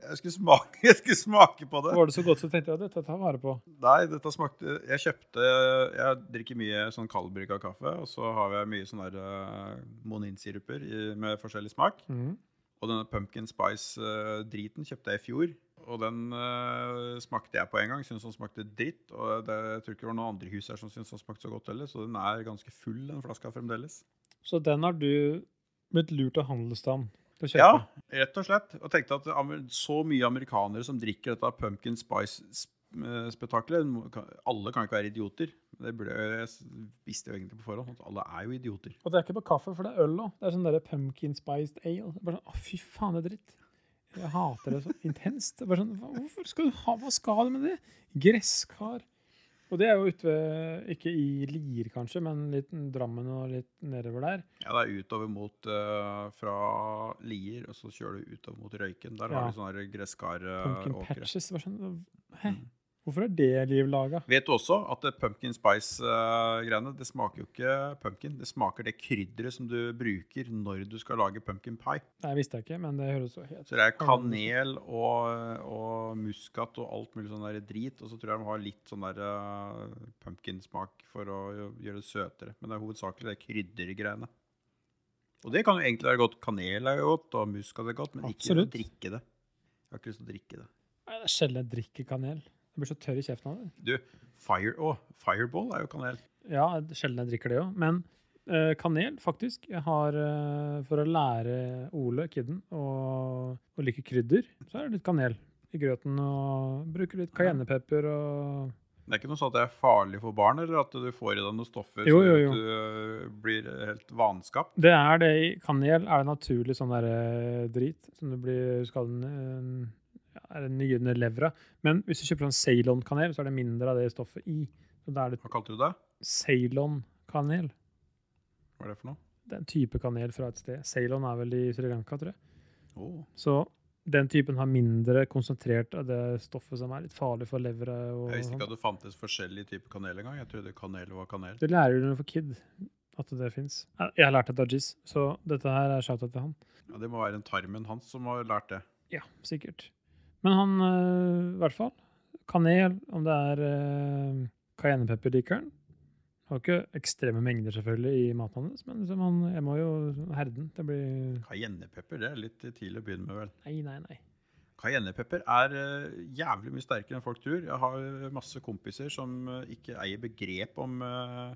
[SPEAKER 1] Jeg skulle, smake, jeg skulle smake på det.
[SPEAKER 2] Var det så godt så tenkte jeg at dette tar jeg vare på?
[SPEAKER 1] Nei, dette smakte Jeg kjøpte Jeg drikker mye sånn kaldbrygga kaffe, og så har jeg mye sånne der, eh, moninsiruper i- med forskjellig smak.
[SPEAKER 2] Mhm.
[SPEAKER 1] Og denne pumpkin spice-driten kjøpte jeg i fjor. Og den eh, smakte jeg på en gang. Syntes den smakte dritt. Og det, jeg tror ikke det var noen andre hus her som syntes den smakte så godt heller. Så den er ganske full, den flaska fremdeles.
[SPEAKER 2] Så den har du blitt lurt av handelsstand til å kjøpe?
[SPEAKER 1] Ja, rett og slett. Og tenkte at amer- så mye amerikanere som drikker dette pumpkin spice-spetakkelet Alle kan ikke være idioter. Det burde, jeg s- visste jo egentlig på forhånd at alle er jo idioter.
[SPEAKER 2] Og det er ikke på kaffe, for det er øl òg. Det er sånn derre pumpkin spiced ale. Det er bare sånn, Å, fy faen, det er dritt. Jeg hater det så intenst. Det er bare sånn, hva- Hvorfor skal du ha Hva skal du med det? Gresskar. Og det er jo ute ved Ikke i Lier, kanskje, men litt Drammen og litt nedover der.
[SPEAKER 1] Ja, det er utover mot eh, fra Lier, og så kjører du utover mot Røyken. Der
[SPEAKER 2] Ja.
[SPEAKER 1] har du sånne eh,
[SPEAKER 2] Pumpkin
[SPEAKER 1] gresskaråkre.
[SPEAKER 2] patches. Det er bare sånn, Hæ? Hvorfor er det liv laga?
[SPEAKER 1] Vet du også at det pumpkin spice-greiene det smaker jo ikke pumpkin. Det smaker det krydderet som du bruker når du skal lage pumpkin pie.
[SPEAKER 2] Nei, visste jeg ikke, men det høres så helt
[SPEAKER 1] Så det er kanel og, og muskat og alt mulig sånn der drit. Og så tror jeg de har litt sånn der eh, pumpkinsmak for å gjøre det søtere. Men det er hovedsakelig det kryddergreiene. Og det kan jo egentlig være godt. Kanel er jo godt, og muskat er godt, men ikke å
[SPEAKER 2] Absolutt.
[SPEAKER 1] drikke det. Jeg har ikke lyst til å drikke det.
[SPEAKER 2] Nei, Det er sjelden jeg drikker kanel. Jeg blir så tørr i kjeften av det.
[SPEAKER 1] Du, fire, å, fireball er jo kanel.
[SPEAKER 2] Ja, sjelden jeg drikker det òg. Men eh, kanel, faktisk. Jeg har, eh, for å lære Ole, kidden, å, å like krydder, så er det litt kanel i grøten. Og bruker litt cayennepepper og
[SPEAKER 1] Det er ikke noe sånn at det er farlig for barn, eller at du får i deg noen stoffer så
[SPEAKER 2] Jo, jo, jo.
[SPEAKER 1] du øh, blir helt vanskapt.
[SPEAKER 2] Det er det i kanel. Er det naturlig sånn der eh, drit som du blir skadet eh, ja, Er det nyende levra? Men hvis du kjøper sånn Ceylon-kanel, så er det mindre av det stoffet i. Så da er det
[SPEAKER 1] Hva kalte du det?
[SPEAKER 2] Ceylon-kanel.
[SPEAKER 1] Hva er det for noe?
[SPEAKER 2] Det er en type kanel fra et sted. Ceylon er vel i Sri Lanka, tror jeg.
[SPEAKER 1] Oh.
[SPEAKER 2] Så den typen har mindre konsentrert av det stoffet som er litt farlig for levra. og sånn.
[SPEAKER 1] Jeg visste
[SPEAKER 2] sånt.
[SPEAKER 1] ikke at det fantes forskjellige typer kanel engang. Jeg trodde kanel var kanel.
[SPEAKER 2] Det lærer du når du får kid, at det fins. Jeg har lært det av Jizz, så dette her er shout-out til han.
[SPEAKER 1] Ja, det må være en tarmen hans som har lært det.
[SPEAKER 2] Ja, sikkert. Men han, øh, i hvert fall, kanel, om det er øh, cayennepepper liker han. Har jo ikke ekstreme mengder selvfølgelig i maten hans, men liksom han, jeg må jo herde den. Det blir
[SPEAKER 1] Cayennepepper, det er litt tidlig å begynne med, vel.
[SPEAKER 2] Nei, nei, nei.
[SPEAKER 1] Cayennepepper er eh, jævlig mye sterkere enn folk tror. Jeg har eh, masse kompiser som eh, ikke eier begrep om eh,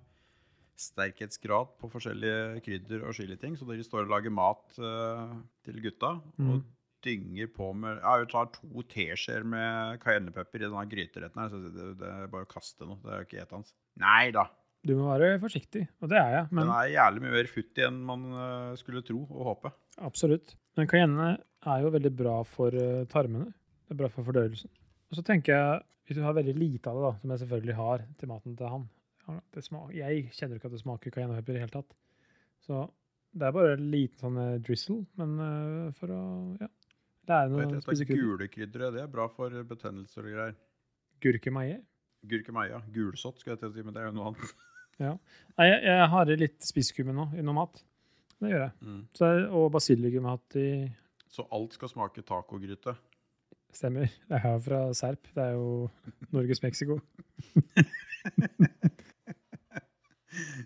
[SPEAKER 1] sterkhetsgrad på forskjellige krydder og chiliting, så dere står og lager mat eh, til gutta og
[SPEAKER 2] Mhm.
[SPEAKER 1] dynger på med ja, Jeg tar to teskjeer med cayennepepper i denne gryteretten her, så det, det er bare å kaste noe. Det er jo ikke etende. Nei da.
[SPEAKER 2] Du må være forsiktig, og det er jeg. Men
[SPEAKER 1] Den er jævlig mye mer futtig enn man eh, skulle tro og håpe.
[SPEAKER 2] Absolutt. Men cayenne er jo veldig bra for eh, tarmene. Det er bra for fordøyelsen. Og så tenker jeg, hvis du har veldig lite av det, da, som jeg selvfølgelig har til maten til han ja, det sma- Jeg kjenner ikke at det smaker cayennepepper i det hele tatt. Så det er bare en liten sånn eh, drizzle, men eh, for å ja, lære
[SPEAKER 1] Og
[SPEAKER 2] noe
[SPEAKER 1] etter
[SPEAKER 2] å
[SPEAKER 1] dette
[SPEAKER 2] spise gul.
[SPEAKER 1] gule krydderet, det er bra for betennelser og greier.
[SPEAKER 2] gurkemeie.
[SPEAKER 1] Gurkemeia. Gulsott, skulle jeg til å si, men det er jo noe annet.
[SPEAKER 2] Nei, jeg, jeg har i litt spisskummen nå, i noe mat. Det gjør jeg. Så, jeg- og basilikum har jeg hatt i
[SPEAKER 1] Så alt skal smake tacogryte.
[SPEAKER 2] Stemmer. Det er jo fra Serp. Det er jo Norges Mexico.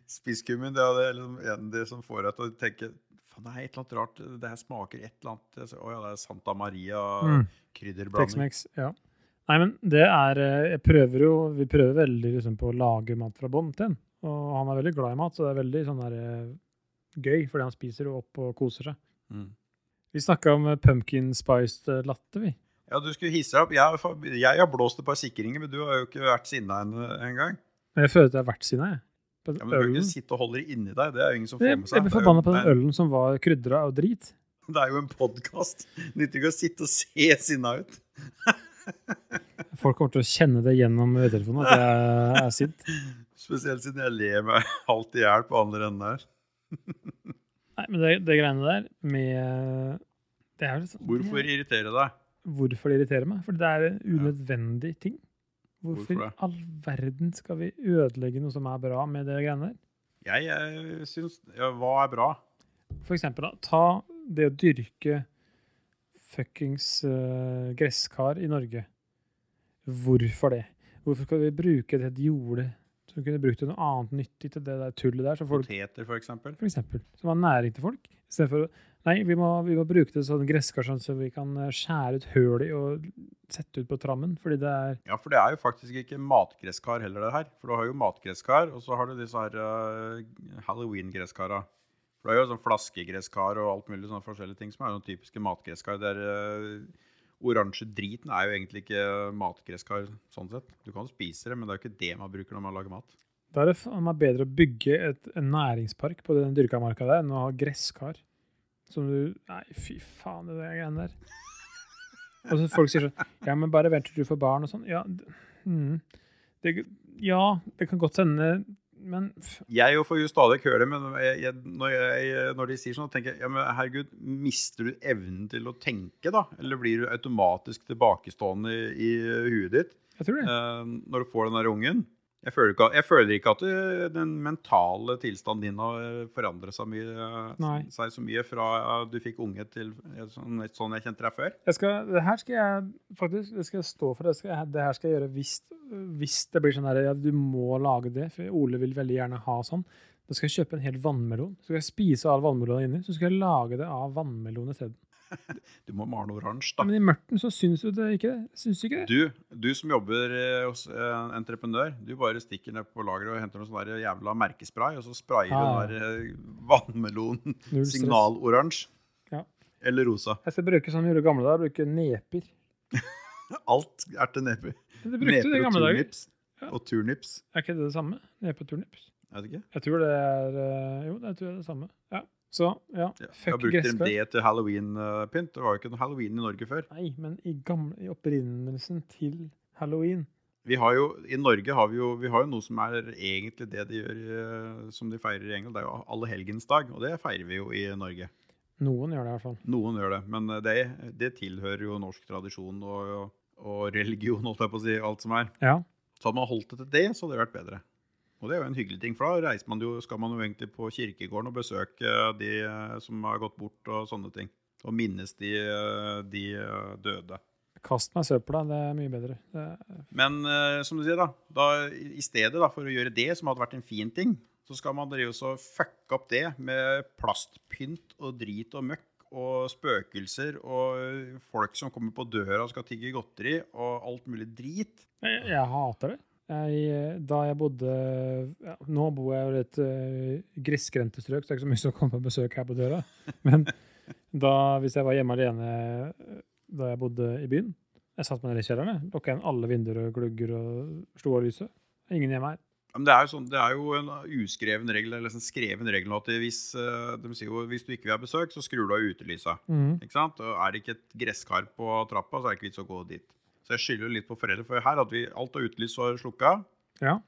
[SPEAKER 1] Spisskummen, det er det liksom en av de som får deg til å tenke Faen, det er et eller annet rart. Det her smaker et eller annet Jeg sa, Å ja, det er Santa
[SPEAKER 2] Mm.
[SPEAKER 1] Maria-krydderblanding.
[SPEAKER 2] Tex-Mex, ja. Nei, men det er eh, Jeg prøver jo Vi prøver veldig liksom på å lage mat fra bånn til en. Og han er veldig glad i mat, så det er veldig sånn der eh, gøy, fordi han spiser jo opp og koser seg.
[SPEAKER 1] Mm.
[SPEAKER 2] Vi snakka om eh, pumpkin spiced eh, latte, vi.
[SPEAKER 1] Ja, du skulle hisse deg opp. Jeg, har fa- jeg har blåst et par sikringer, men du har jo ikke vært sinna en- engang.
[SPEAKER 2] Men jeg føler at jeg har vært sinna, jeg. På
[SPEAKER 1] Ja,
[SPEAKER 2] den
[SPEAKER 1] men du kan
[SPEAKER 2] ølen.
[SPEAKER 1] ikke sitte og holde det inni deg. Det er jo ingen som får
[SPEAKER 2] Jeg,
[SPEAKER 1] med seg.
[SPEAKER 2] jeg
[SPEAKER 1] Det
[SPEAKER 2] ble
[SPEAKER 1] er jo-
[SPEAKER 2] forbanna på
[SPEAKER 1] det er-
[SPEAKER 2] den ølen som var krydra av drit.
[SPEAKER 1] Det er jo en podkast. Nytter ikke å sitte og se sinna ut.
[SPEAKER 2] Folk kommer til å kjenne det gjennom øretelefonen at jeg er sint.
[SPEAKER 1] Spesielt siden jeg ler meg halvt i hjel på andre enden her.
[SPEAKER 2] Nei, men det, det greiene der med eh, Det er jo litt sånn
[SPEAKER 1] Hvorfor irritere deg?
[SPEAKER 2] hvorfor det irriterer meg. For det er en unødvendig ting. Hvorfor i
[SPEAKER 1] Hvorfor det?
[SPEAKER 2] all verden skal vi ødelegge noe som er bra med det greiene der?
[SPEAKER 1] Jeg, jeg syns ja, Hva er bra?
[SPEAKER 2] For eksempel, da, ta det å dyrke fuckings eh, gresskar i Norge. Hvorfor det? Hvorfor skal vi bruke det et jorde som vi kunne brukt til noe annet nyttig til det der tullet der, som folk
[SPEAKER 1] Poteter, for eksempel.
[SPEAKER 2] for eksempel, som har næring til folk. I stedet for å Nei, vi må, vi må bruke det sånn gresskar sånn så vi kan eh, skjære ut høl i og sette ut på trammen, fordi det er
[SPEAKER 1] Ja, for det er jo faktisk ikke matgresskar heller, det her. For du har jo matgresskar, og så har du disse her eh, halloween-gresskara. For det er jo sånn flaskegresskar og alt mulig sånne forskjellige ting som er sånn typiske matgresskar. Der uh, oransje driten er jo egentlig ikke matgresskar sånn sett. Du kan spise det, men det er jo ikke det man bruker når man lager mat.
[SPEAKER 2] Da er det faen meg bedre å bygge et, en næringspark på den dyrka marka der enn å ha gresskar. Som du Nei, fy faen, det der greiene der. Og så folk sier sånn Ja, men bare vent til du får barn og sånn. Ja, d- mm, det, ja, det kan godt hende, men f-
[SPEAKER 1] Jeg jo får jo stadig høre det, men jeg, jeg, når, jeg, når de sier sånn, tenker jeg ja, men herregud, mister du evnen til å tenke, da? Eller blir du automatisk tilbakestående i, i huet ditt
[SPEAKER 2] jeg tror det.
[SPEAKER 1] eh, når du får den der ungen? Jeg føler ikke, at- jeg føler ikke at eh, den mentale tilstanden din har eh, forandret seg, mye, eh,
[SPEAKER 2] Nei.
[SPEAKER 1] seg så mye fra eh, du fikk unge til eh, sånn, sånn jeg kjente deg før.
[SPEAKER 2] Jeg skal, det her skal jeg faktisk det skal jeg stå for. Det, skal, jeg- det her skal jeg gjøre hvis, hvis det blir sånn her, ja, du må lage det. For Ole vil veldig gjerne ha sånn. Da skal jeg kjøpe en hel vannmelon. Så skal jeg spise all vannmelonen inni. Så skal jeg lage det av vannmelon isteden.
[SPEAKER 1] Du må male oransje,
[SPEAKER 2] Ja,
[SPEAKER 1] da.
[SPEAKER 2] men i mørten så syns du det ikke det. Syns du ikke det?
[SPEAKER 1] Du, du som jobber eh, hos eh, en entreprenør, du bare stikker ned på lageret og henter noen sånn der jævla merkespray, og så sprayer
[SPEAKER 2] Ah.
[SPEAKER 1] du den der eh, vannmelonen
[SPEAKER 2] Null stress.
[SPEAKER 1] signaloransje.
[SPEAKER 2] Ja.
[SPEAKER 1] Eller rosa.
[SPEAKER 2] Jeg skal bruke som vi gjorde i gamle dager, bruke neper.
[SPEAKER 1] Alt er til nepe.
[SPEAKER 2] Men det brukte du i gamle dager.
[SPEAKER 1] turnips.
[SPEAKER 2] Ja.
[SPEAKER 1] Og turnips.
[SPEAKER 2] Er ikke det det samme? Nede på turnips?
[SPEAKER 1] Jeg vet ikke.
[SPEAKER 2] Jeg tror det er eh, Jo, jeg tror det er det samme. Ja. Så, ja.
[SPEAKER 1] Ja. Jeg
[SPEAKER 2] Fuck
[SPEAKER 1] brukte dem
[SPEAKER 2] gresskar.
[SPEAKER 1] det til halloween-pynt. Det var jo ikke noe halloween i Norge før.
[SPEAKER 2] Nei, men i, gamle, i opprinnelsen til halloween
[SPEAKER 1] Vi har jo, I Norge har vi jo, vi har jo noe som er egentlig det de gjør eh, som de feirer i England. Det er jo allehelgensdag, og det feirer vi jo i Norge.
[SPEAKER 2] Noen gjør det i hvert fall.
[SPEAKER 1] Noen gjør det, men eh, det, det tilhører jo norsk tradisjon og, og religion, holdt jeg på å si, alt som er.
[SPEAKER 2] Ja.
[SPEAKER 1] Så hadde man holdt det til det, så hadde det vært bedre. Og det er jo en hyggelig ting, for da reiser man jo, skal man jo egentlig på kirkegården og besøke de eh, som har gått bort og sånne ting. Og minnes de, eh, de eh, døde.
[SPEAKER 2] Kast meg i søpla, det er mye bedre. Det er,
[SPEAKER 1] Men eh, som du sier, da, da i i stedet da, for å gjøre det, som hadde vært en fin ting, så skal man drive og så fucke opp det med plastpynt og drit og møkk og spøkelser og eh, folk som kommer på døra og skal tigge godteri og alt mulig drit.
[SPEAKER 2] jeg, jeg hater det. Jeg, eh, da jeg bodde ja, Nå bor jeg jo i et uh, grisgrendte strøk, så det er ikke så mye som kommer på besøk her på døra. Men da, hvis jeg var hjemme alene eh, da jeg bodde i byen Jeg satte meg ned i kjelleren, jeg, lukka igjen alle vinduer og glugger og slo av lyset. Ingen hjemme her.
[SPEAKER 1] Men det er jo, sånn, det er jo en uskreven regel, eller en skreven regel, nå, at hvis, eh, de sier jo, hvis du ikke vil ha besøk, så skrur du av utelysa. Ikke sant? Og er det ikke et gresskar på trappa, så er det ikke vits å gå dit. Så jeg skylder jo litt på foreldre, for her hadde vi alt av utelys var slukka.
[SPEAKER 2] Ja.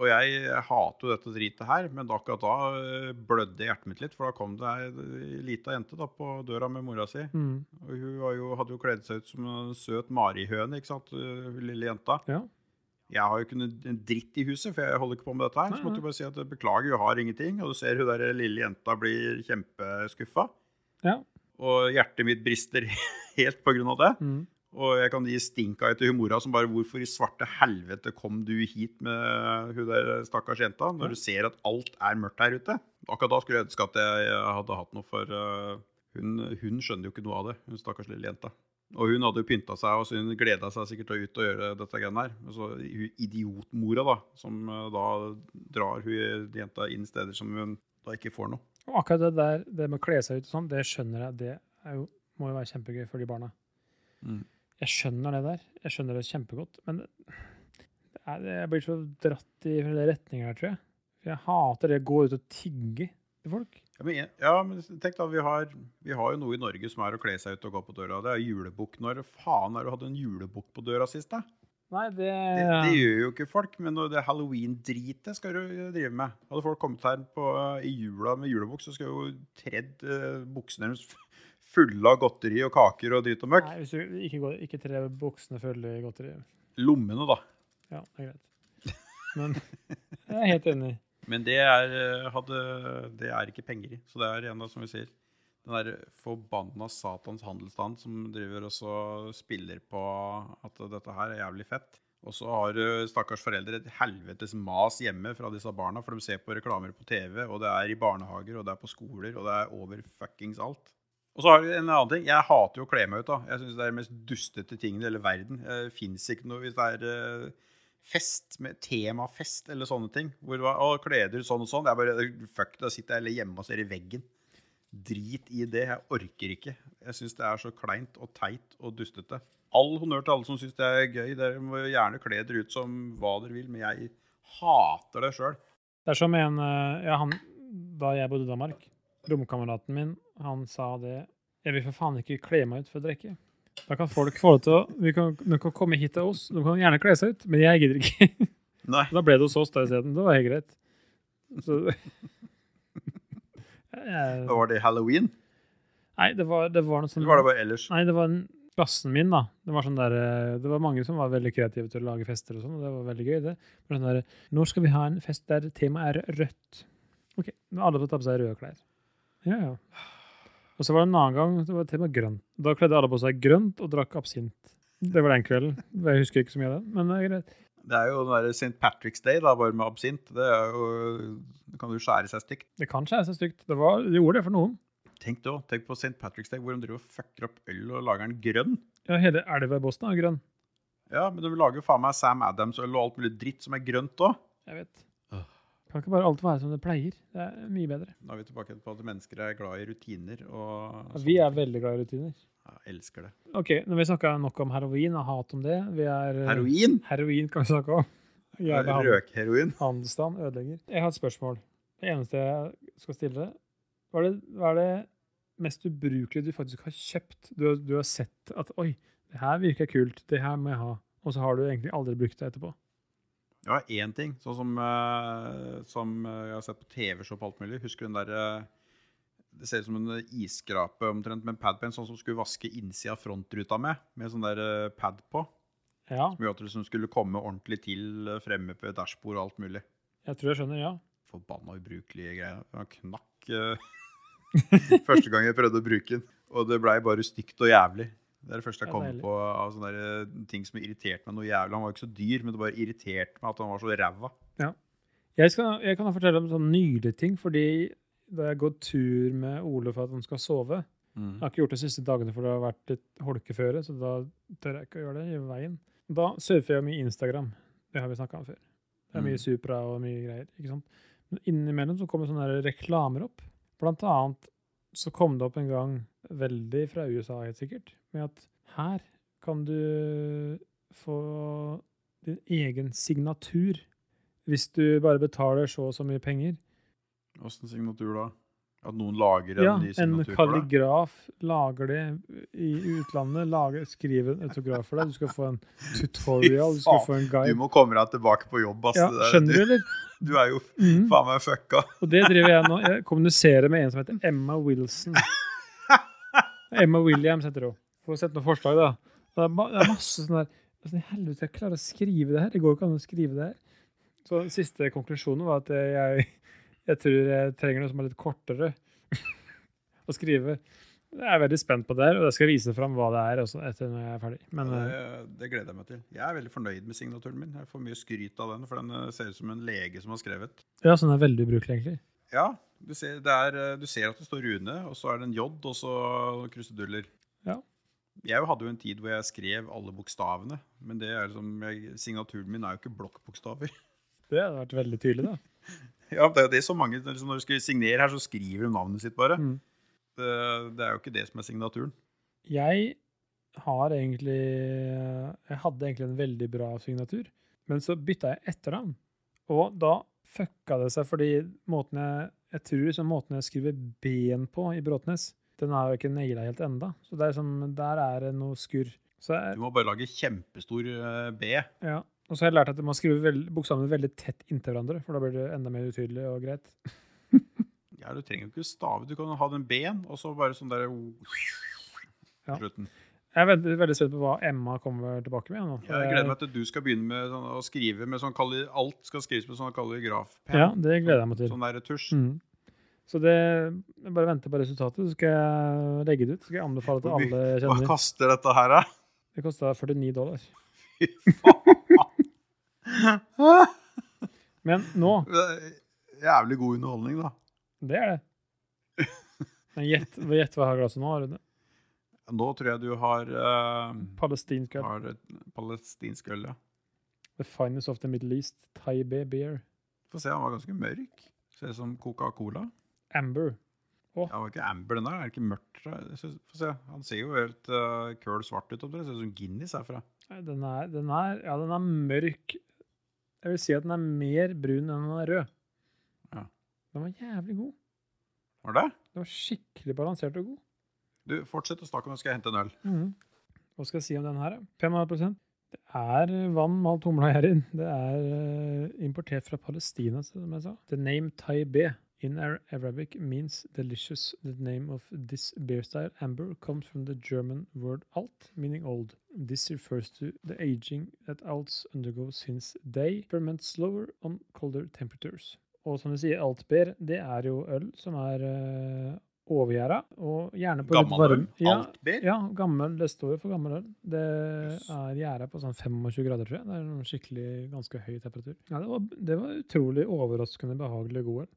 [SPEAKER 1] Og jeg, jeg hater jo dette dritet her, men akkurat da eh, blødde hjertet mitt litt, for da kom det ei lita jente da på døra med mora si.
[SPEAKER 2] Mm.
[SPEAKER 1] Og hun var jo, hadde jo kledd seg ut som en søt marihøne, ikke sant, eh, hun lille jenta.
[SPEAKER 2] Ja.
[SPEAKER 1] Jeg har jo ikke noe en dritt i huset, for jeg holder ikke på med dette her.
[SPEAKER 2] Nei,
[SPEAKER 1] Så måtte jeg bare si at beklager, jeg har ingenting. Og du ser hun der lille jenta blir kjempeskuffa.
[SPEAKER 2] Ja.
[SPEAKER 1] Og hjertet mitt brister helt på grunn av det.
[SPEAKER 2] Mm.
[SPEAKER 1] Og jeg kan gi stinka etter hun mora som bare Hvorfor i svarte helvete kom du hit med hun der stakkars jenta,
[SPEAKER 2] Ja.
[SPEAKER 1] når du ser at alt er mørkt her ute? Akkurat da skulle jeg ønske at jeg hadde hatt noe for eh, hun, hun skjønner jo ikke noe av det, hun stakkars lille jenta. Og hun hadde jo pynta seg, og så hun gleda seg sikkert til å ut og gjøre dette greiene her. Og så hun idiotmora, da, som eh, da drar hun jenta inn steder som hun da ikke får noe.
[SPEAKER 2] Og akkurat det der, det med å kle seg ut og sånn, det skjønner jeg, det er jo, må jo være kjempegøy for de barna.
[SPEAKER 1] Mm.
[SPEAKER 2] Jeg skjønner det der, jeg skjønner det kjempegodt, men det er, det- jeg blir så dratt i flere retninger her, tror jeg. For jeg hater det å gå ut og tigge til folk.
[SPEAKER 1] Ja, men, ja, men tenk da, vi har, vi har jo noe i Norge som er å kle seg ut og gå på døra. Det er julebukk. Når faen er det du hadde en julebukk på døra sist, da?
[SPEAKER 2] Nei, det,
[SPEAKER 1] Det, det gjør jo ikke folk, men når det er halloween-dritet skal du drive med. Hadde folk kommet her på, i jula med julebukk, så skulle jeg jo tredd eh, buksene deres f- fulle av godteri og kaker og dritt og møkk.
[SPEAKER 2] Nei, hvis du ikke, går, ikke tre buksene følger godteri.
[SPEAKER 1] Lommene, da.
[SPEAKER 2] Ja, det er greit. Men jeg er helt enig.
[SPEAKER 1] Men det er, eh, hadde, det er ikke penger i. Så det er igjen da, som vi sier, den der forbanna satans handelsstand som driver og så spiller på at dette her er jævlig fett. Og så har eh, stakkars foreldre et helvetes mas hjemme fra disse barna, for de ser på reklamer på TV, og det er i barnehager, og det er på skoler, og det er over fuckings alt. Og så har vi en annen ting. Jeg hater jo å kle meg ut. da. Jeg syns det er de mest dustete tingene i hele verden. Det fins ikke noe hvis det er eh, fest, med temafest eller sånne ting. Hvor det var, å, kleder sånn og sånn. Jeg bare, fuck det, da sitter jeg hjemme og ser i veggen. Drit i det, jeg orker ikke. Jeg syns det er så kleint og teit og dustete. All honnør til alle som syns det er gøy. Dere må gjerne kle dere ut som hva dere vil, men jeg hater det sjøl.
[SPEAKER 2] Det er som en eh, Ja, han Da jeg bodde i Danmark, romkameraten min, han sa det Jeg vil for faen ikke kle meg ut for å drikke. Da kan folk få det til å vi kan, De kan komme hit til oss, de kan gjerne kle seg ut, men jeg gidder ikke.
[SPEAKER 1] Nei.
[SPEAKER 2] Da ble det hos oss da isteden. Det var helt greit. Så jeg,
[SPEAKER 1] Var det halloween,
[SPEAKER 2] Nei, det var, det var noe sånn
[SPEAKER 1] eller var det bare ellers?
[SPEAKER 2] Nei, det var en, klassen min, da. Det var, sånn der, eh, det var mange som var veldig kreative til å lage fester og sånn, og det var veldig gøy. Det var sånn der, Når skal vi ha en fest der temaet er rødt? Ok, nå har alle fått ta på seg røde klær. Ja, ja. Og så var det en annen gang, det var tema grønt. Da kledde alle på seg grønt og drakk absint. Det var den kvelden. Jeg husker ikke så mye av den, men det er greit.
[SPEAKER 1] Det er jo den der St. Patrick's Day, da, bare med absint. Det er jo, det kan jo skjære seg stygt.
[SPEAKER 2] Det kan skjære seg stygt. Det, var, det gjorde det for noen.
[SPEAKER 1] Tenk det også, Tenk på St. Patrick's Day, hvor de driver og fucker opp øl og lager den grønn.
[SPEAKER 2] Ja, hele elva i Boston er grønn.
[SPEAKER 1] Ja, men de lager jo faen meg Sam Adams-øl og alt mulig dritt som er grønt òg.
[SPEAKER 2] Jeg vet.
[SPEAKER 1] Åh.
[SPEAKER 2] Kan ikke bare alt være som det pleier. Det er mye bedre.
[SPEAKER 1] Da er vi tilbake på at mennesker er glad i rutiner og sånn.
[SPEAKER 2] Vi er veldig glad i rutiner.
[SPEAKER 1] ja, elsker det.
[SPEAKER 2] Ok, når vi snakka nok om heroin og hat om det vi er,
[SPEAKER 1] Heroin? Eh,
[SPEAKER 2] Heroin kan vi snakke om. Jævla han-
[SPEAKER 1] Røkheroin.
[SPEAKER 2] handelsstand ødelegger. Jeg har et spørsmål. Det eneste jeg skal stille deg. Hva er det, hva er det mest ubrukelige du faktisk har kjøpt? Du, har- du har sett at oi, det her virker kult, det her må jeg ha. Og så har du egentlig aldri brukt det etterpå.
[SPEAKER 1] Ja, én ting. Sånn som, eh, som eh, jeg har sett på TV-show på alt mulig. Husker du den derre Det ser ut som en eh, isskrape omtrent, med en pad på en sånn som skulle vaske innsida av frontruta med. Med sånn der eh, pad på.
[SPEAKER 2] Ja,
[SPEAKER 1] Som gjorde at det liksom skulle komme ordentlig til eh, fremme på dashbord og alt mulig.
[SPEAKER 2] jeg tror jeg skjønner, ja.
[SPEAKER 1] Forbanna ubrukelige greier. Den knakk eh, første gang jeg prøvde å bruke den. Og det blei bare stygt og jævlig. Det er det første jeg
[SPEAKER 2] Ja,
[SPEAKER 1] kommer
[SPEAKER 2] deilig.
[SPEAKER 1] på av sånne der, eh, ting som irriterte meg noe jævlig. Han var ikke så dyr, men det bare irriterte meg at han var så ræva.
[SPEAKER 2] Jeg, skal, jeg kan fortelle om sånne nylige ting, fordi da jeg går tur med Ole for at han skal sove,
[SPEAKER 1] Mm.
[SPEAKER 2] Jeg har ikke gjort det de siste dagene, for det har vært litt holkeføre, så da tør jeg ikke å gjøre det i veien. Da surfer jeg mye Instagram. Det har vi snakka om før. Det er mye
[SPEAKER 1] Mm.
[SPEAKER 2] Supra og mye greier. ikke sant? Men innimellom så kommer sånne her reklamer opp. Blant annet så kom det opp en gang, veldig fra USA helt sikkert, med at her kan du få din egen signatur hvis du bare betaler så og så mye penger.
[SPEAKER 1] Åssen signatur da? At noen lager en
[SPEAKER 2] Ja,
[SPEAKER 1] ny
[SPEAKER 2] en
[SPEAKER 1] signatur for deg?
[SPEAKER 2] kalligraf lager det i utlandet. Lager, skriver en autograf for deg. Du skal få en tutorial, du skal
[SPEAKER 1] faen,
[SPEAKER 2] få en
[SPEAKER 1] Du
[SPEAKER 2] guide.
[SPEAKER 1] må komme deg tilbake på jobb, ass.
[SPEAKER 2] Ja,
[SPEAKER 1] Det der-
[SPEAKER 2] skjønner du, eller?
[SPEAKER 1] Du, du er jo
[SPEAKER 2] Mm.
[SPEAKER 1] faen meg fucka.
[SPEAKER 2] Og det driver jeg nå. Jeg kommuniserer med en som heter Emma Wilson. Emma Williams heter hun. Får sett noen forslag, da. Det er, ma det er masse sånn der Åssen i helvete jeg klarer å skrive det her? Det går jo ikke an å skrive det her. Så siste konklusjonen var at jeg, jeg tror jeg trenger noe som er litt kortere å skrive. Jeg er veldig spent på det her, og jeg skal vise fram hva det er også etter når jeg er ferdig. Men eh,
[SPEAKER 1] Det, det gleder jeg meg til. Jeg er veldig fornøyd med signaturen min. Jeg får mye skryt av den, for den eh, ser ut som en lege som har skrevet.
[SPEAKER 2] ja, sånn er veldig ubrukelig, egentlig.
[SPEAKER 1] Ja, du ser, det er, eh, du ser at det står Rune, og så er det en J, og så kruseduller.
[SPEAKER 2] Ja.
[SPEAKER 1] Jeg hadde jo en tid hvor jeg skrev alle bokstavene, men det er liksom, jeg, signaturen min er jo ikke blokkbokstaver.
[SPEAKER 2] Det hadde vært veldig tydelig, da.
[SPEAKER 1] Ja, det er jo det som mange liksom, Når de skal signere her, så skriver de navnet sitt bare.
[SPEAKER 2] Mm.
[SPEAKER 1] Det, det er jo ikke det som er signaturen.
[SPEAKER 2] Jeg har egentlig Jeg hadde egentlig en veldig bra signatur, men så bytta jeg etternavn. Og da fucka det seg, fordi måten jeg jeg tror liksom måten jeg skriver ben på i Bråtnes, den har jeg jo ikke naila helt enda. Så det er som, der er det noe skurr. Så jeg,
[SPEAKER 1] Du må bare lage kjempestor eh, B.
[SPEAKER 2] ja. Og så har jeg lært at man skriver veld, bokstavene veldig tett inntil hverandre, for da blir det enda mer utydelig og greit.
[SPEAKER 1] Ja, Du trenger jo ikke stave. Du kan jo ha den B-en, og så bare sånn der
[SPEAKER 2] Ja.
[SPEAKER 1] Slutten.
[SPEAKER 2] Jeg er veldig, veldig spent på hva Emma kommer tilbake med. Nå.
[SPEAKER 1] Jeg gleder meg til at du skal begynne med sånn, å skrive med sånn kalli, Alt skal skrives med sånn kalligrafpenn.
[SPEAKER 2] Ja, det gleder jeg meg til.
[SPEAKER 1] Sånn der tusj.
[SPEAKER 2] Mm. Så det, jeg bare venter på resultatet, så skal jeg legge det ut. Så skal jeg anbefale til
[SPEAKER 1] Hvor mye-
[SPEAKER 2] alle jeg
[SPEAKER 1] Hva
[SPEAKER 2] kjenner.
[SPEAKER 1] kaster dette her, da?
[SPEAKER 2] Det kosta 49 dollar.
[SPEAKER 1] Fy faen.
[SPEAKER 2] Men nå,
[SPEAKER 1] Det er Jævlig god underholdning, da.
[SPEAKER 2] det er det. Men gjett gjett hva jeg har i glasset nå, Rune.
[SPEAKER 1] Nå tror jeg du har, eh,
[SPEAKER 2] Palestinsk øl.
[SPEAKER 1] har et palestinsk øl, ja.
[SPEAKER 2] The finest of the Middle East. Thai Bay Beer.
[SPEAKER 1] Få se, han var ganske mørk. Ser ut som Coca-Cola.
[SPEAKER 2] Amber.
[SPEAKER 1] Ja, var ikke amber den der? Er det ikke mørkt? da? Jeg synes- Få se. Han ser jo helt uh, køl svart ut. omtrent. Ser ut som Guinness herfra.
[SPEAKER 2] Nei, Den er, den er, ja, den er mørk. Jeg vil si at den er mer brun enn den er rød.
[SPEAKER 1] Ja.
[SPEAKER 2] Den var jævlig god.
[SPEAKER 1] Var det?
[SPEAKER 2] Den var skikkelig balansert og god.
[SPEAKER 1] Du, Fortsett å snakke om det, skal jeg hente en øl.
[SPEAKER 2] Hva skal jeg si om den her? da? 5,5 Det er vann malt humla og gjærin. Det er eh, importert fra Palestina, som jeg sa. The name Thai B in Ar- Arabic means delicious. The name of this beer style, amber, comes from the German word alt, meaning old. This refers to the aging that alts undergo since they ferment slower on colder temperatures. Og som du sier, altbeer, det er jo øl som er uh, overgjæra, og gjerne på litt
[SPEAKER 1] Gammel
[SPEAKER 2] varm.
[SPEAKER 1] øl. Alt ber.
[SPEAKER 2] Ja, gammel, det står jo for gammel øl. Det
[SPEAKER 1] Yes.
[SPEAKER 2] er gjæra på sånn 25 grader, tror jeg. Det er en skikkelig ganske høy temperatur. Ja, det var, det var utrolig overraskende behagelig god øl.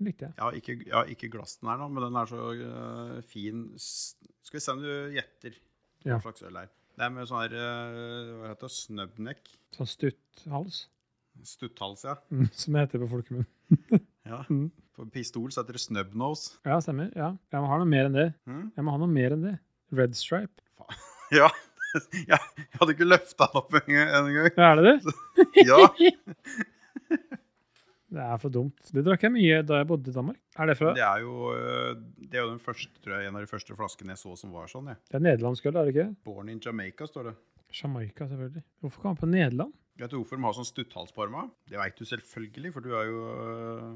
[SPEAKER 2] Den Likte jeg.
[SPEAKER 1] Jeg har ikke, jeg har ikke glassen her nå, men den er så eh, fin. S- Skal vi se om du gjetter
[SPEAKER 2] Ja.
[SPEAKER 1] hva slags øl det er. Det er med sånn her eh, Hva heter det? Snøbnek?
[SPEAKER 2] Sånn stutt hals,
[SPEAKER 1] Stutthals, ja.
[SPEAKER 2] mm, som det heter på folkemunn.
[SPEAKER 1] ja.
[SPEAKER 2] Mm.
[SPEAKER 1] På pistol så heter det snubnose.
[SPEAKER 2] Ja, stemmer. Ja. Jeg må ha noe mer enn det.
[SPEAKER 1] Mm?
[SPEAKER 2] Jeg må ha noe mer enn det. Red Stripe.
[SPEAKER 1] Ja. Jeg, jeg hadde ikke løfta den opp en gang. En gang.
[SPEAKER 2] Ja, er det det?
[SPEAKER 1] Ja,
[SPEAKER 2] Det er for dumt. Det drakk jeg mye da jeg bodde i Danmark. Er det fra
[SPEAKER 1] det er jo, øh, det er jo den første, tror jeg, en av de første flaskene jeg så som var sånn. Jeg.
[SPEAKER 2] Det er nederlandsk øl, er det ikke?
[SPEAKER 1] Born in Jamaica, står det.
[SPEAKER 2] Jamaica, selvfølgelig. Hvorfor kom han på Nederland?
[SPEAKER 1] Vet du hvorfor de har sånn stutthalsparma? Det veit du selvfølgelig, for du er jo øh,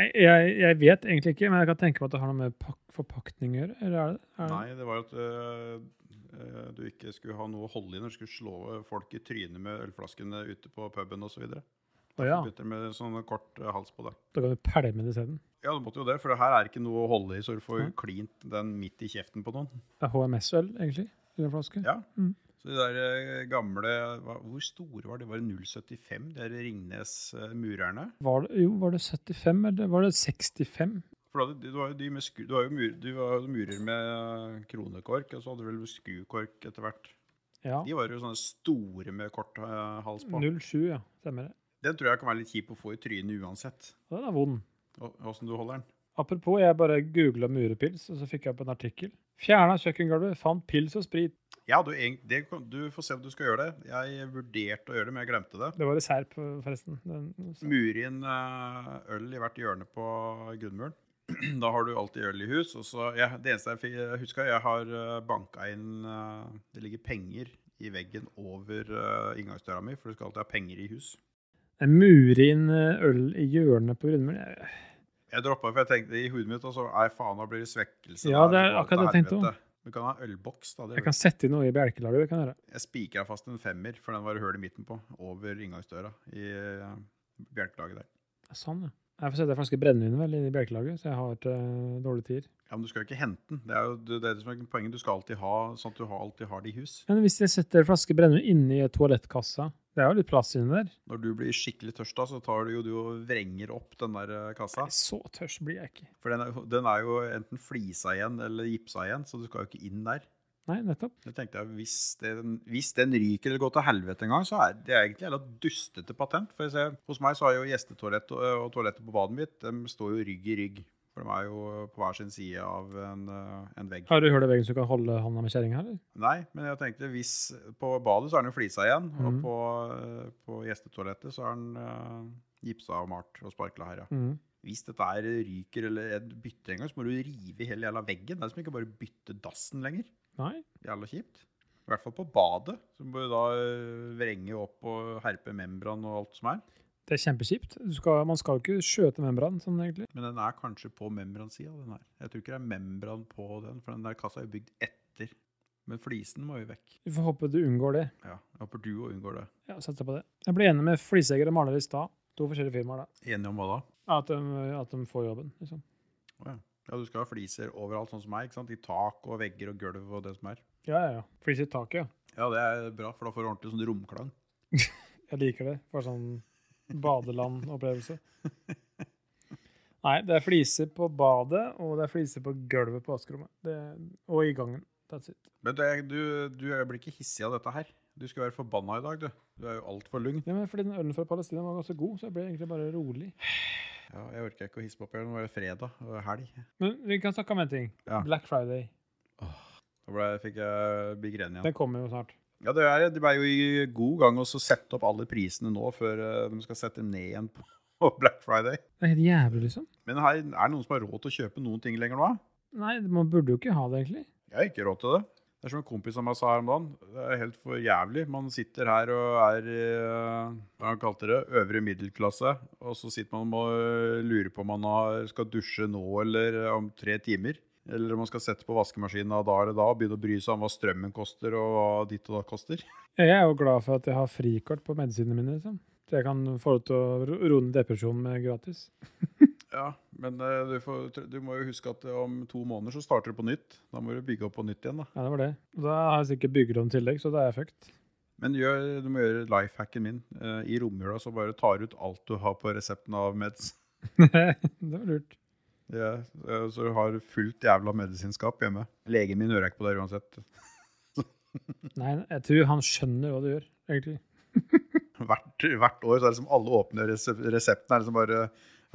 [SPEAKER 2] Jeg, jeg, jeg vet egentlig ikke, men jeg kan tenke meg at det har noe med pak forpakning å gjøre. Eller er det? Er det?
[SPEAKER 1] Nei, det var at øh, øh, du ikke skulle ha noe å holde i når du skulle slå folk i trynet med ølflaskene ute på puben osv.
[SPEAKER 2] Å ja,
[SPEAKER 1] Begynte med sånn kort øh, hals på det.
[SPEAKER 2] da kan du pælme det isteden.
[SPEAKER 1] Ja, du måtte jo det, for det her er ikke noe å holde i, så du får
[SPEAKER 2] Nei.
[SPEAKER 1] klint den midt i kjeften på noen.
[SPEAKER 2] Det er HMS-øl, egentlig. i den flaske.
[SPEAKER 1] Ja.
[SPEAKER 2] Mm.
[SPEAKER 1] Så de der eh, gamle hva, Hvor store var de? Var det 075? De eh, der Ringnes-murerne?
[SPEAKER 2] Var det, jo, var det 75, eller var det 65?
[SPEAKER 1] For da, hadde de- du var jo de med skru, du var jo mur, du var jo murer med eh, kronekork, og så hadde du vel skrukork etter hvert.
[SPEAKER 2] Ja.
[SPEAKER 1] De var jo sånne store med kort eh, hals på.
[SPEAKER 2] 07, ja. Stemmer det.
[SPEAKER 1] Den tror jeg kan være litt kjip å få i trynet uansett,
[SPEAKER 2] Og Den er vond.
[SPEAKER 1] åssen du holder den.
[SPEAKER 2] Apropos, jeg bare googla murepils, og så fikk jeg opp en artikkel. Fjerna kjøkkengulvet, fant pils og sprit.
[SPEAKER 1] Ja, du, egent- det, kan- du får se om du skal gjøre det. Jeg vurderte å gjøre det, men jeg glemte det.
[SPEAKER 2] Det var dessert, på- forresten. Den, så.
[SPEAKER 1] Mure inn eh, øl i hvert hjørne på grunnmuren. Da har du alltid øl i hus. Og så, jeg, det eneste jeg fikk- jeg husker, jeg har eh, banka inn eh, Det ligger penger i veggen over eh, inngangsdøra mi, for du skal alltid ha penger i hus.
[SPEAKER 2] Jeg murer inn eh, øl i hjørnet på grunnmuren. Jeg-
[SPEAKER 1] Jeg droppa for jeg tenkte i hodet mitt og så, Nei, faen, da blir det svekkelse.
[SPEAKER 2] Ja,
[SPEAKER 1] da
[SPEAKER 2] det er
[SPEAKER 1] går
[SPEAKER 2] akkurat
[SPEAKER 1] til
[SPEAKER 2] det jeg tenkte
[SPEAKER 1] helvete. Du kan ha ølboks. da. Det,
[SPEAKER 2] Jeg kan sette inn noe i bjelkelaget. det kan jeg gjøre.
[SPEAKER 1] jeg spikra fast en femmer, for den var det hull i midten på, over inngangsdøra i eh, bjelkelaget der.
[SPEAKER 2] Ja, Sånn, ja. Jeg får sette en flaske brennevin vel inn i bjelkelaget, så jeg har til dårlige tider.
[SPEAKER 1] Ja, Men du skal jo ikke hente den. Det er jo det, det er det som er poenget. Du skal alltid ha sånn at du har, alltid har det i hus.
[SPEAKER 2] Men hvis jeg setter en flaske brennevin inni toalettkassa Det er jo litt plass inni der.
[SPEAKER 1] Når du blir skikkelig tørst, da, så tar du jo du og vrenger opp den der eh, kassa.
[SPEAKER 2] Så tørst blir jeg ikke.
[SPEAKER 1] For den er, jo- den er jo enten flisa igjen eller gipsa igjen, så du skal jo ikke inn der.
[SPEAKER 2] Nei, nettopp.
[SPEAKER 1] Det tenkte jeg, Hvis den, hvis den ryker eller går til helvete en gang, så er det egentlig et dustete patent. For jeg ser, Hos meg så har jeg jo gjestetoalett og, og toalettet på badet mitt de står jo rygg i rygg. For de er jo på hver sin side av en, eh, en vegg.
[SPEAKER 2] Har du hull i veggen så du kan holde hånda med kjerringa, eller?
[SPEAKER 1] Nei, men jeg tenkte hvis På badet så er den jo flisa igjen, og
[SPEAKER 2] Mhm.
[SPEAKER 1] på, eh, på gjestetoalettet så er den eh, gipsa og malt og sparkla her, ja.
[SPEAKER 2] Mm.
[SPEAKER 1] Hvis dette her ryker eller et bytte en gang, så må du rive hele jævla veggen. Det er som ikke bare bytte dassen lenger.
[SPEAKER 2] Nei.
[SPEAKER 1] Jævla kjipt. I hvert fall på badet. Så må du da øh, vrenge opp og herpe membran og alt som er.
[SPEAKER 2] Det er kjempekjipt. Du skal, man skal jo ikke skjøte membranen sånn, egentlig.
[SPEAKER 1] Men den er kanskje på membransida, den her. Jeg tror ikke det er membran på den, for den der kassa er jo bygd etter. Men flisen må jo vekk.
[SPEAKER 2] Vi får håpe du unngår det.
[SPEAKER 1] Ja, jeg håper du òg unngår det.
[SPEAKER 2] Ja, satser på det. Jeg ble enig med fliseegger og maler i stad. To forskjellige firmaer, da.
[SPEAKER 1] Enig om hva da?
[SPEAKER 2] At de, at de får jobben, liksom.
[SPEAKER 1] Ja, du skal ha fliser overalt, sånn som meg. ikke sant? I tak og vegger og gulv og det som er.
[SPEAKER 2] Ja, ja, ja. Flis i taket, ja.
[SPEAKER 1] Ja, det er bra, for da får du ordentlig sånn romklang.
[SPEAKER 2] Jeg liker det. Bare sånn badeland-opplevelse. Nei, det er fliser på badet, og det er fliser på gulvet på vaskerommet. Det, og i gangen. That's it.
[SPEAKER 1] Men du, du, du blir ikke hissig av dette her. Du skulle være forbanna i dag, du. Du er jo altfor lugn.
[SPEAKER 2] Ja, men fordi den ølen fra Palestina var ganske god, så jeg ble egentlig bare rolig.
[SPEAKER 1] Ja, jeg orker ikke å hisse meg opp igjen. Nå er det fredag og helg.
[SPEAKER 2] Men vi kan snakke om en ting.
[SPEAKER 1] Ja.
[SPEAKER 2] Black Friday.
[SPEAKER 1] Da ble, fikk jeg big ren igjen.
[SPEAKER 2] Den kommer jo snart.
[SPEAKER 1] Ja, det er, det er jo i god gang å så sette opp alle prisene nå før eh, de skal sette dem ned igjen på på Black Friday.
[SPEAKER 2] Det er helt jævlig, liksom.
[SPEAKER 1] Men her, er det noen som har råd til å kjøpe noen ting lenger nå? da?
[SPEAKER 2] Nei, man burde jo ikke ha det, egentlig.
[SPEAKER 1] Jeg har ikke råd til det. Det er som en kompis av meg sa her om dagen. Det er helt for jævlig. Man sitter her og er i eh, hva han kalte det, øvre middelklasse, og så sitter man og eh, lurer på om man har, skal dusje nå eller eh, om tre timer. Eller om man skal sette på vaskemaskinen da eller da og begynne å bry seg om hva strømmen koster og hva ditt og da koster.
[SPEAKER 2] Jeg er jo glad for at jeg har frikort på medisinene mine, liksom. Så jeg kan få lov til å ro- roe ned depresjonen med gratis.
[SPEAKER 1] Ja, men eh, du, får, du må jo huske at eh, om to måneder så starter det på nytt. Da må du bygge opp på nytt igjen, da.
[SPEAKER 2] Ja, det var det. Og da har jeg sikkert byggelån i tillegg, så da er jeg fucked.
[SPEAKER 1] Men gjør, du må gjøre lifehacken min. Eh, I romjula så bare tar du ut alt du har på resepten av meds.
[SPEAKER 2] det var lurt.
[SPEAKER 1] Ja, eh, så du har fullt jævla medisinskap hjemme. Legen min hører ikke på det uansett.
[SPEAKER 2] Nei, jeg tror han skjønner hva du gjør, egentlig.
[SPEAKER 1] Hvert, hvert år så er det som alle åpner resep resepten, er det som bare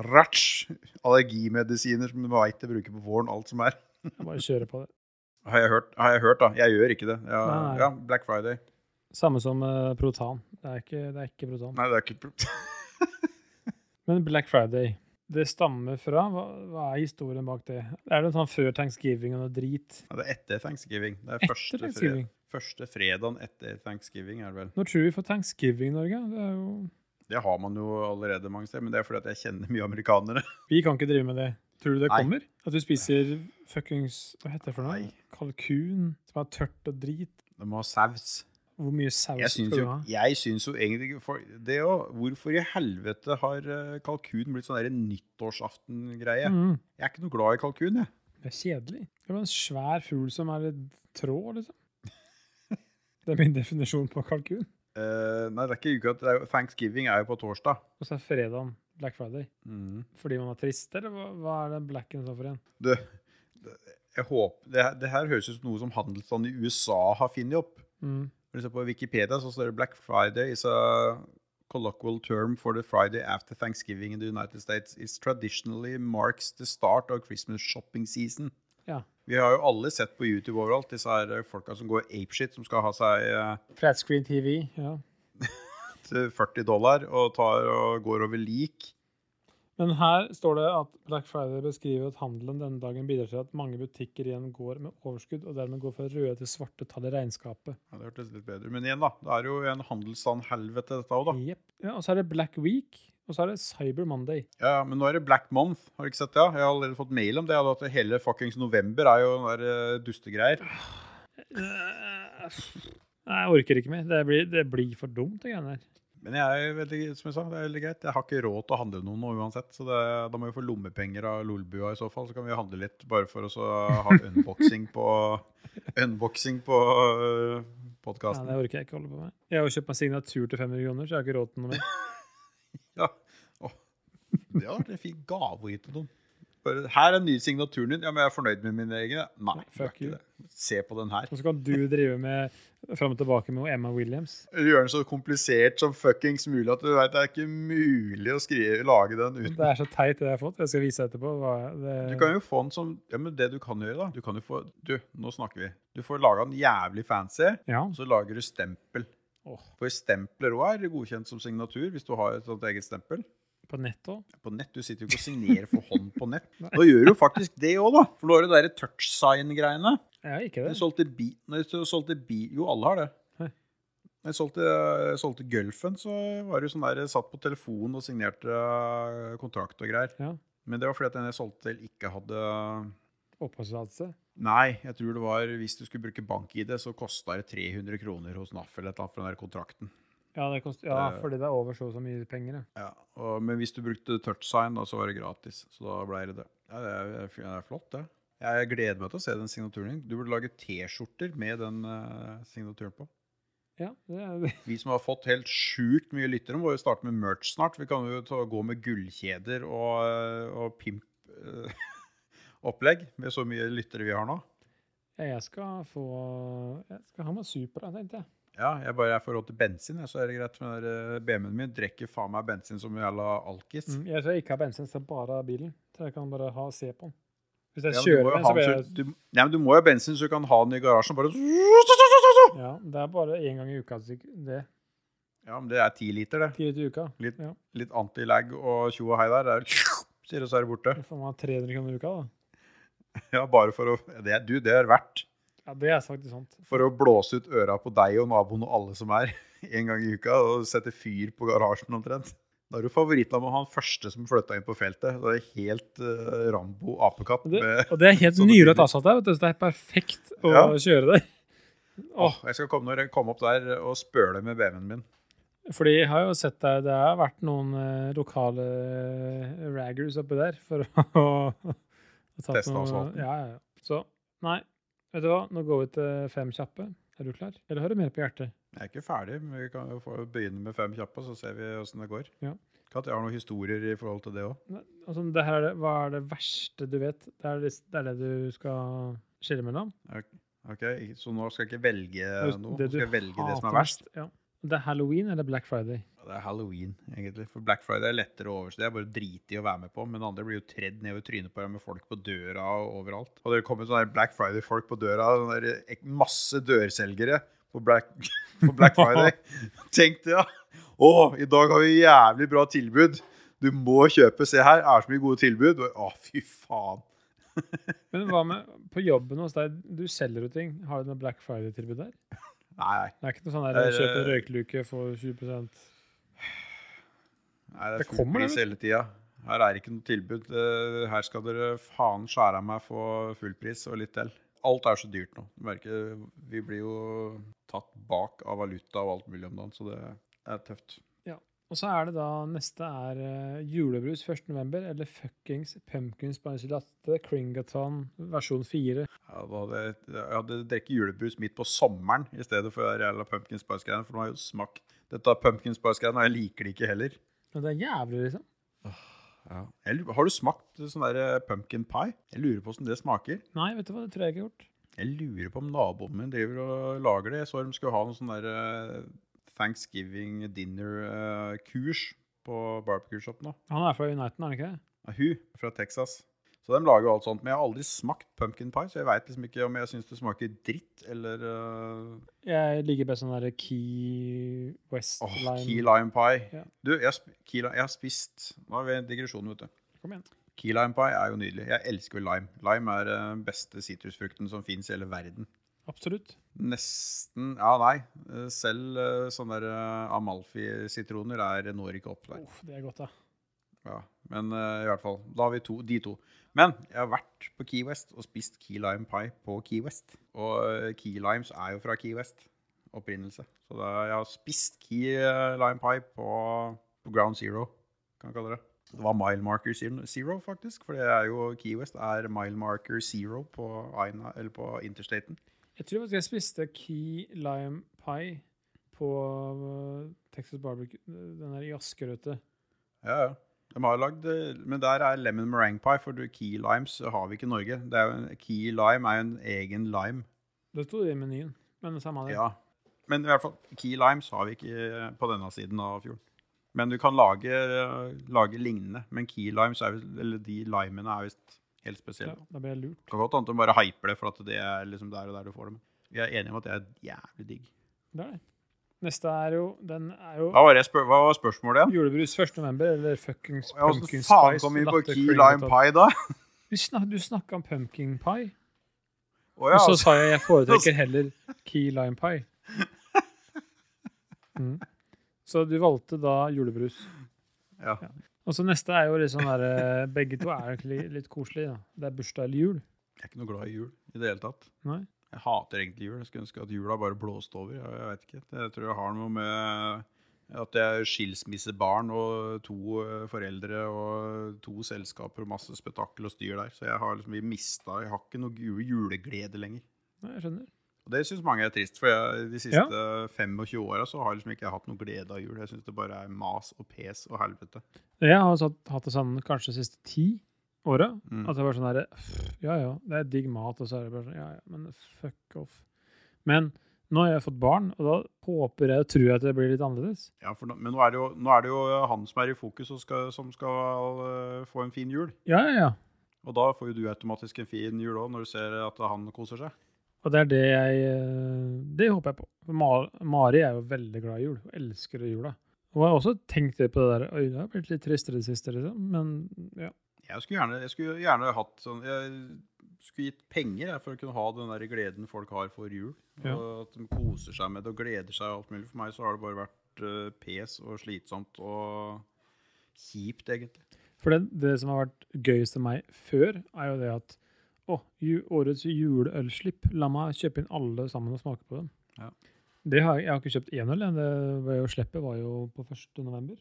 [SPEAKER 1] ratsj! Allergimedisiner som du veit de bruker på våren, alt som er.
[SPEAKER 2] Jeg bare kjører på det.
[SPEAKER 1] Har jeg hørt, har jeg hørt da. Jeg gjør ikke det. Ja,
[SPEAKER 2] Nei.
[SPEAKER 1] ja Black Friday.
[SPEAKER 2] Samme som eh, Protan. Det er ikke, det er ikke Protan.
[SPEAKER 1] Nei, det er ikke
[SPEAKER 2] Men Black Friday, det stammer fra Hva, hva er historien bak det? Er det sånn før thanksgiving og noe drit?
[SPEAKER 1] Nei, det er etter thanksgiving. Det er
[SPEAKER 2] Etter
[SPEAKER 1] første,
[SPEAKER 2] thanksgiving?
[SPEAKER 1] Fred, første fredagen etter thanksgiving, er det vel.
[SPEAKER 2] Når tror vi får thanksgiving i Norge? Det er jo,
[SPEAKER 1] Det har man jo allerede mange steder, men det er fordi at jeg kjenner mye amerikanere.
[SPEAKER 2] vi kan ikke drive med det. Tror du det
[SPEAKER 1] Nei.
[SPEAKER 2] kommer? At du spiser fuckings Hva heter det for noe?
[SPEAKER 1] Nei.
[SPEAKER 2] Kalkun som er tørt og drit?
[SPEAKER 1] De må ha saus.
[SPEAKER 2] Hvor mye saus
[SPEAKER 1] Jeg syns
[SPEAKER 2] skal du
[SPEAKER 1] jo,
[SPEAKER 2] ha?
[SPEAKER 1] jeg syns jo egentlig ikke for, det jo, Hvorfor i helvete har eh, kalkun blitt sånn der nyttårsaften-greie?
[SPEAKER 2] Mm,
[SPEAKER 1] Jeg er ikke noe glad i kalkun, jeg.
[SPEAKER 2] det er kjedelig. Det er bare en svær fugl som er i tråd, liksom. Det er min definisjon på kalkun.
[SPEAKER 1] Eh, nei, det er ikke uka til det er jo- Thanksgiving er jo på torsdag.
[SPEAKER 2] Og så er fredagen Black Friday. Fordi man er trist, eller hva, hva er den blacken så for en?
[SPEAKER 1] Du, det- jeg håper, det, her- det her høres ut som noe som handelsstanden i USA har funnet opp.
[SPEAKER 2] Mm.
[SPEAKER 1] Når du ser på Wikipedia, så står det Black Friday is a colloquial term for the Friday after Thanksgiving in the United States. It traditionally marks the start of Christmas shopping season.
[SPEAKER 2] Ja.
[SPEAKER 1] Vi har jo alle sett på YouTube overalt disse her folka som går apeshit, som skal ha seg eh,
[SPEAKER 2] Flatscreen TV, ja.
[SPEAKER 1] til 40 dollar og, tar og går over lik.
[SPEAKER 2] Men her står det at Black Friday beskriver at handelen denne dagen bidrar til at mange butikker igjen går med overskudd, og dermed går fra røde til svarte tall i regnskapet.
[SPEAKER 1] Ja, det hørtes litt bedre Men igjen, da. Det er jo en handelsstand helvete, dette òg, da.
[SPEAKER 2] Jep. Ja, og så er det Black Week, og så er det Cyber Monday.
[SPEAKER 1] Ja, ja, men nå er det Black Month. Har du ikke sett det? Jeg har allerede fått mail om det. da, At hele fuckings november er jo den der eh, dustegreier.
[SPEAKER 2] Øh, Nei, jeg orker ikke mer. Det blir, det blir for dumt, det greiene der.
[SPEAKER 1] Men jeg er veldig, som jeg sa, det er veldig greit. Jeg har ikke råd til å handle noe nå uansett. Så det, da må vi få lommepenger av Lolbua i så fall. Så kan vi handle litt bare for å så ha unboxing på, unboxing på øh,
[SPEAKER 2] Nei,
[SPEAKER 1] podkasten.
[SPEAKER 2] det orker jeg ikke holde på med. Jeg har jo kjøpt meg signatur til 500 kroner, så jeg har ikke råd til noe mer.
[SPEAKER 1] Ja. Åh, det hadde vært en fin gave å gi til noen. Bare, her er den nye signaturen din. Ja, men jeg er fornøyd med min egen. ja. Nei, du er
[SPEAKER 2] Fuck you.
[SPEAKER 1] ikke det. Se på den her.
[SPEAKER 2] Og så kan du drive med fram og tilbake med Emma Williams.
[SPEAKER 1] gjøre den så komplisert som fuckings mulig at du vet det er ikke mulig å skrive, lage den uten
[SPEAKER 2] Det er så teit, det jeg har fått. Jeg skal vise etterpå. Hva det...
[SPEAKER 1] Du kan jo få den som Ja, men det du kan gjøre, da Du kan jo få Du, nå snakker vi. Du får laga den jævlig fancy,
[SPEAKER 2] Ja.
[SPEAKER 1] og så lager du stempel.
[SPEAKER 2] Åh,
[SPEAKER 1] For stempler òg er godkjent som signatur hvis du har et sånt eget stempel.
[SPEAKER 2] på nettet òg.
[SPEAKER 1] På nett, Du sitter jo ikke og signerer for hånd på nett. Nå gjør du jo faktisk det òg, da. For nå har du de der touchsign-greiene.
[SPEAKER 2] Jeg har ikke det.
[SPEAKER 1] Jeg solgte bi... Når jeg solgte bi... Jo, alle har det.
[SPEAKER 2] Hæ?
[SPEAKER 1] Når jeg solgte, jeg solgte Gulfen, så var det jo sånn der jeg satt på telefonen og signerte eh, kontrakt og greier.
[SPEAKER 2] Ja.
[SPEAKER 1] Men det var fordi at den jeg solgte til, ikke hadde
[SPEAKER 2] Oppholdstillatelse.
[SPEAKER 1] Nei, jeg tror det var hvis du skulle bruke bank-ID, så kosta det 300 kroner hos NAF eller et eller annet for den der kontrakten.
[SPEAKER 2] Ja, det kost, ja
[SPEAKER 1] Eh.
[SPEAKER 2] fordi det er over så og så mye penger. ja.
[SPEAKER 1] Ja, og, Men hvis du brukte touchsign, da, så var det gratis. Så da ble det det. Ja, det er, det er flott, det. Jeg gleder meg til å se den signaturen din. Du burde lage T-skjorter med den eh, signaturen på.
[SPEAKER 2] Ja, det er,
[SPEAKER 1] Vi som har fått helt sjukt mye lyttere, må jo starte med merch snart. Vi kan jo ta, gå med gullkjeder og, eh, og pimp-opplegg med så mye lyttere vi har nå.
[SPEAKER 2] Ja, jeg skal få Jeg skal ha meg Supra, tenkte jeg.
[SPEAKER 1] Ja, jeg bare jeg får råd til bensin, jeg, så er det greit. Men den der, eh, BMW-en min drikker faen meg bensin som en jævla alkis.
[SPEAKER 2] Mm, jeg skal ikke ha bensin, så bare ha bilen. Så jeg kan bare ha se på den. Hvis jeg
[SPEAKER 1] Ja, men du,
[SPEAKER 2] kjører
[SPEAKER 1] må jo
[SPEAKER 2] den,
[SPEAKER 1] ha
[SPEAKER 2] så blir
[SPEAKER 1] den,
[SPEAKER 2] jeg
[SPEAKER 1] så, du, nei, men du må jo ha bensin, så du kan ha den i garasjen. Bare Ja,
[SPEAKER 2] Ja, det er bare én gang i uka. så ikke- Det.
[SPEAKER 1] men det er ti liter, det.
[SPEAKER 2] Fire til uka.
[SPEAKER 1] Litt,
[SPEAKER 2] Ja.
[SPEAKER 1] litt anti-lag og tjo og hei der. Det er, sier det, så er det borte.
[SPEAKER 2] Da får man ha 300 kroner i uka, da.
[SPEAKER 1] Ja, bare for å det, Du, det er verdt.
[SPEAKER 2] Ja, det er faktisk sant.
[SPEAKER 1] for å blåse ut øra på deg og naboen og alle som er, en gang i uka, og sette fyr på garasjen omtrent. Da er du favoritten av å ha han første som flytta inn på feltet. Da er det helt eh, Rambo apekatt
[SPEAKER 2] Men
[SPEAKER 1] med
[SPEAKER 2] Det, og det er helt
[SPEAKER 1] sånne
[SPEAKER 2] nyrødt
[SPEAKER 1] biler.
[SPEAKER 2] asfalt der, vet du, så det er perfekt å
[SPEAKER 1] Ja.
[SPEAKER 2] kjøre der.
[SPEAKER 1] Åh, jeg skal komme når jeg kommer opp der og spøle med BMW-en min.
[SPEAKER 2] Fordi jeg har jo sett der, det har vært noen eh, lokale eh, raggers oppi der for å å ta
[SPEAKER 1] Teste
[SPEAKER 2] noe-
[SPEAKER 1] asfalten.
[SPEAKER 2] Ja, ja, ja. Så nei, vet du hva, nå går vi til fem kjappe. Er du klar? Eller har du mer på hjertet?
[SPEAKER 1] Jeg er ikke ferdig, men vi kan jo få begynne med fem kjappe, så ser vi åssen det går.
[SPEAKER 2] Ja.
[SPEAKER 1] Katt, jeg har noen historier i forhold til det òg.
[SPEAKER 2] Nei, Altså, det her er det, hva er det verste du vet? Det er det, det, er det du skal skille mellom?
[SPEAKER 1] Ok, Så nå skal jeg ikke velge
[SPEAKER 2] Det er
[SPEAKER 1] noe?
[SPEAKER 2] det
[SPEAKER 1] Nå
[SPEAKER 2] du
[SPEAKER 1] skal jeg velge det som er
[SPEAKER 2] hater
[SPEAKER 1] verst?
[SPEAKER 2] mest. Ja. Det er halloween eller black friday?
[SPEAKER 1] Det er halloween, egentlig. For Black Friday er lettere å overse. Det er bare drit i å være med på. Men andre blir jo tredd nedover trynet på deg med folk på døra og overalt. Og det kommer sånne der Black Friday-folk på døra. Sånne der eh, ek- masse dørselgere på Black, på Black Friday. Tenk det, da! Å, i dag har vi jævlig bra tilbud. Du må kjøpe. Se her, er så mye gode tilbud. Og- Å, fy faen.
[SPEAKER 2] Men hva med på jobben hos deg? Du selger jo ting. Har du noe Black Friday-tilbud der?
[SPEAKER 1] Nei, nei.
[SPEAKER 2] Det er ikke noe sånn
[SPEAKER 1] Det
[SPEAKER 2] der
[SPEAKER 1] er,
[SPEAKER 2] kjøp en
[SPEAKER 1] eh,
[SPEAKER 2] røykluke for 20
[SPEAKER 1] Nei, det
[SPEAKER 2] Det
[SPEAKER 1] er full
[SPEAKER 2] kommer det,
[SPEAKER 1] pris
[SPEAKER 2] vet
[SPEAKER 1] hele tida. Her er ikke noe tilbud. Eh, Her skal dere faen skjære av meg for full pris og litt til. Alt er så dyrt nå. Du merker, vi blir jo tatt bak av valuta og alt mulig om dagen, så det er tøft.
[SPEAKER 2] Og så er det da neste er eh, julebrus 1. november, eller fuckings pumpkin spicy latte, Kringaton versjon 4.
[SPEAKER 1] Ja, da hadde jeg, jeg hadde drukket julebrus midt på sommeren i stedet for de jævla pumpkin spice-greiene, for nå har jeg jo smakt dette pumpkin spice-greiene, og jeg liker det ikke heller.
[SPEAKER 2] Og det er jævlig, liksom.
[SPEAKER 1] Jeg lurer- Har du smakt sånn der pumpkin pie? Jeg lurer på hvordan det smaker.
[SPEAKER 2] Nei, vet du hva, det tror jeg ikke jeg har gjort.
[SPEAKER 1] Jeg lurer på om naboen min driver og lager det. Jeg så de skulle ha noen sånn der eh, Thanksgiving dinner-kurs på barbecue-shop nå.
[SPEAKER 2] Han er fra Uniten, er han ikke det?
[SPEAKER 1] Av Hun fra Texas. Så de lager jo alt sånt. Men jeg har aldri smakt pumpkin pie, så jeg veit liksom ikke om jeg syns det smaker dritt eller eh,
[SPEAKER 2] Jeg liker best sånn derre Key West
[SPEAKER 1] åh,
[SPEAKER 2] Lime.
[SPEAKER 1] key lime pie.
[SPEAKER 2] Ja.
[SPEAKER 1] Du, jeg, sp- key, li- jeg har spist Nå er vi i digresjonen, vet du.
[SPEAKER 2] Kom igjen.
[SPEAKER 1] Key lime pie er jo nydelig. Jeg elsker jo lime. Lime er eh, den beste sitrusfrukten som fins i hele verden.
[SPEAKER 2] Absolutt.
[SPEAKER 1] Nesten Ja, nei. Eh, Selv eh, sånne der eh, Amalfi-sitroner er når ikke opp der.
[SPEAKER 2] Uff, det er godt, da.
[SPEAKER 1] Ja, men eh, i hvert fall. Da har vi to, de to. Men jeg har vært på Key West og spist Key Lime Pie på Key West. Og eh, Key Limes er jo fra Key West. Opprinnelse. Så da, jeg har spist Key eh, Lime Pie på, på Ground Zero, kan vi kalle det. Det var Mile Marker Zero, Zero, faktisk. For det er jo Key West er Mile Marker Zero på, Aina, eller på interstaten.
[SPEAKER 2] Jeg tror faktisk jeg spiste Key Lime Pie på øh, Texas Barbecue, den der i Asker, vet du.
[SPEAKER 1] Ja, ja. De har lagd, eh, men der er lemon meringue pie, for du- key limes har vi ikke i Norge. Det er jo en, key lime er jo en egen lime.
[SPEAKER 2] Det sto det i menyen, men det samme det.
[SPEAKER 1] Ja. Men i hvert fall, key limes har vi ikke eh, på denne siden av fjorden. Men du kan lage, eh, lage lignende. Men key limes, er, visst- eller de limene er visst helt
[SPEAKER 2] Ja,
[SPEAKER 1] spesielle.
[SPEAKER 2] da ble jeg lurt.
[SPEAKER 1] Det kan godt hende de bare hyper det, for at det er liksom der og der du får det. Men vi er enige om at det er jævlig digg.
[SPEAKER 2] Det er det. Neste er jo Den er jo
[SPEAKER 1] Hva var, det, spør- hva var spørsmålet igjen?
[SPEAKER 2] julebrus 1. november, eller fuckings
[SPEAKER 1] Ja, Hvordan
[SPEAKER 2] pumpkin
[SPEAKER 1] faen
[SPEAKER 2] spice.
[SPEAKER 1] kom vi på
[SPEAKER 2] latte
[SPEAKER 1] key
[SPEAKER 2] cringe
[SPEAKER 1] lime
[SPEAKER 2] top.
[SPEAKER 1] pie da?
[SPEAKER 2] Vi snak, du snakka om pumpkin pie,
[SPEAKER 1] Å
[SPEAKER 2] og
[SPEAKER 1] ja,
[SPEAKER 2] så
[SPEAKER 1] altså.
[SPEAKER 2] sa jeg jeg foretrekker heller key lime pie. Mm. Så du valgte da julebrus.
[SPEAKER 1] Ja.
[SPEAKER 2] Og så neste er jo litt sånn derre Begge to er egentlig litt koselige, da. Det er bursdag eller jul.
[SPEAKER 1] Jeg er ikke noe glad i jul i det hele tatt.
[SPEAKER 2] Nei.
[SPEAKER 1] Jeg hater egentlig jul. Jeg skulle ønske at jula bare blåste over. Jeg, jeg vet ikke. Jeg tror jeg har noe med at jeg er skilsmissebarn og to eh, foreldre og to selskaper og masse spetakkel og styr der. Så jeg har liksom vi mista Jeg har ikke noe ju- juleglede lenger.
[SPEAKER 2] Nei, jeg skjønner.
[SPEAKER 1] Og det syns mange er trist, for jeg, de siste 25 åra så har jeg liksom ikke hatt noe glede av jul. Jeg syns det bare er mas og pes og helvete.
[SPEAKER 2] Jeg har satt, hatt det sånn kanskje de siste ti åra.
[SPEAKER 1] Mm.
[SPEAKER 2] At det var sånn derre Ja ja, det er digg mat, og så er det bare sånn Ja ja, men fuck off. Men nå har jeg fått barn, og da håper jeg og tror jeg at det blir litt annerledes.
[SPEAKER 1] Ja, for nå, men nå er, det jo, nå er det jo han som er i fokus og skal, som skal eh, få en fin jul.
[SPEAKER 2] Ja ja ja.
[SPEAKER 1] Og da får jo du automatisk en fin jul òg, når du ser at han koser seg.
[SPEAKER 2] Og det er det jeg eh, Det håper jeg på. For Mar Mari er jo veldig glad i jul. Hun elsker jula. Og jeg har også tenkt litt på det der Oi, det har blitt litt tristere i det siste, liksom. Men ja.
[SPEAKER 1] Jeg skulle gjerne, jeg skulle gjerne hatt sånn Jeg skulle gitt penger jeg, for å kunne ha den der gleden folk har for jul.
[SPEAKER 2] Ja.
[SPEAKER 1] Og at de koser seg med det og gleder seg og alt mulig. For meg så har det bare vært eh, pes og slitsomt og kjipt, egentlig.
[SPEAKER 2] For det, det som har vært gøyest for meg før, er jo det at å, ju, årets juleølslipp, la meg kjøpe inn alle sammen og smake på dem.
[SPEAKER 1] Ja.
[SPEAKER 2] Det har, jeg- jeg har ikke kjøpt én øl, jeg. det var jo slippet var jo på 1. november.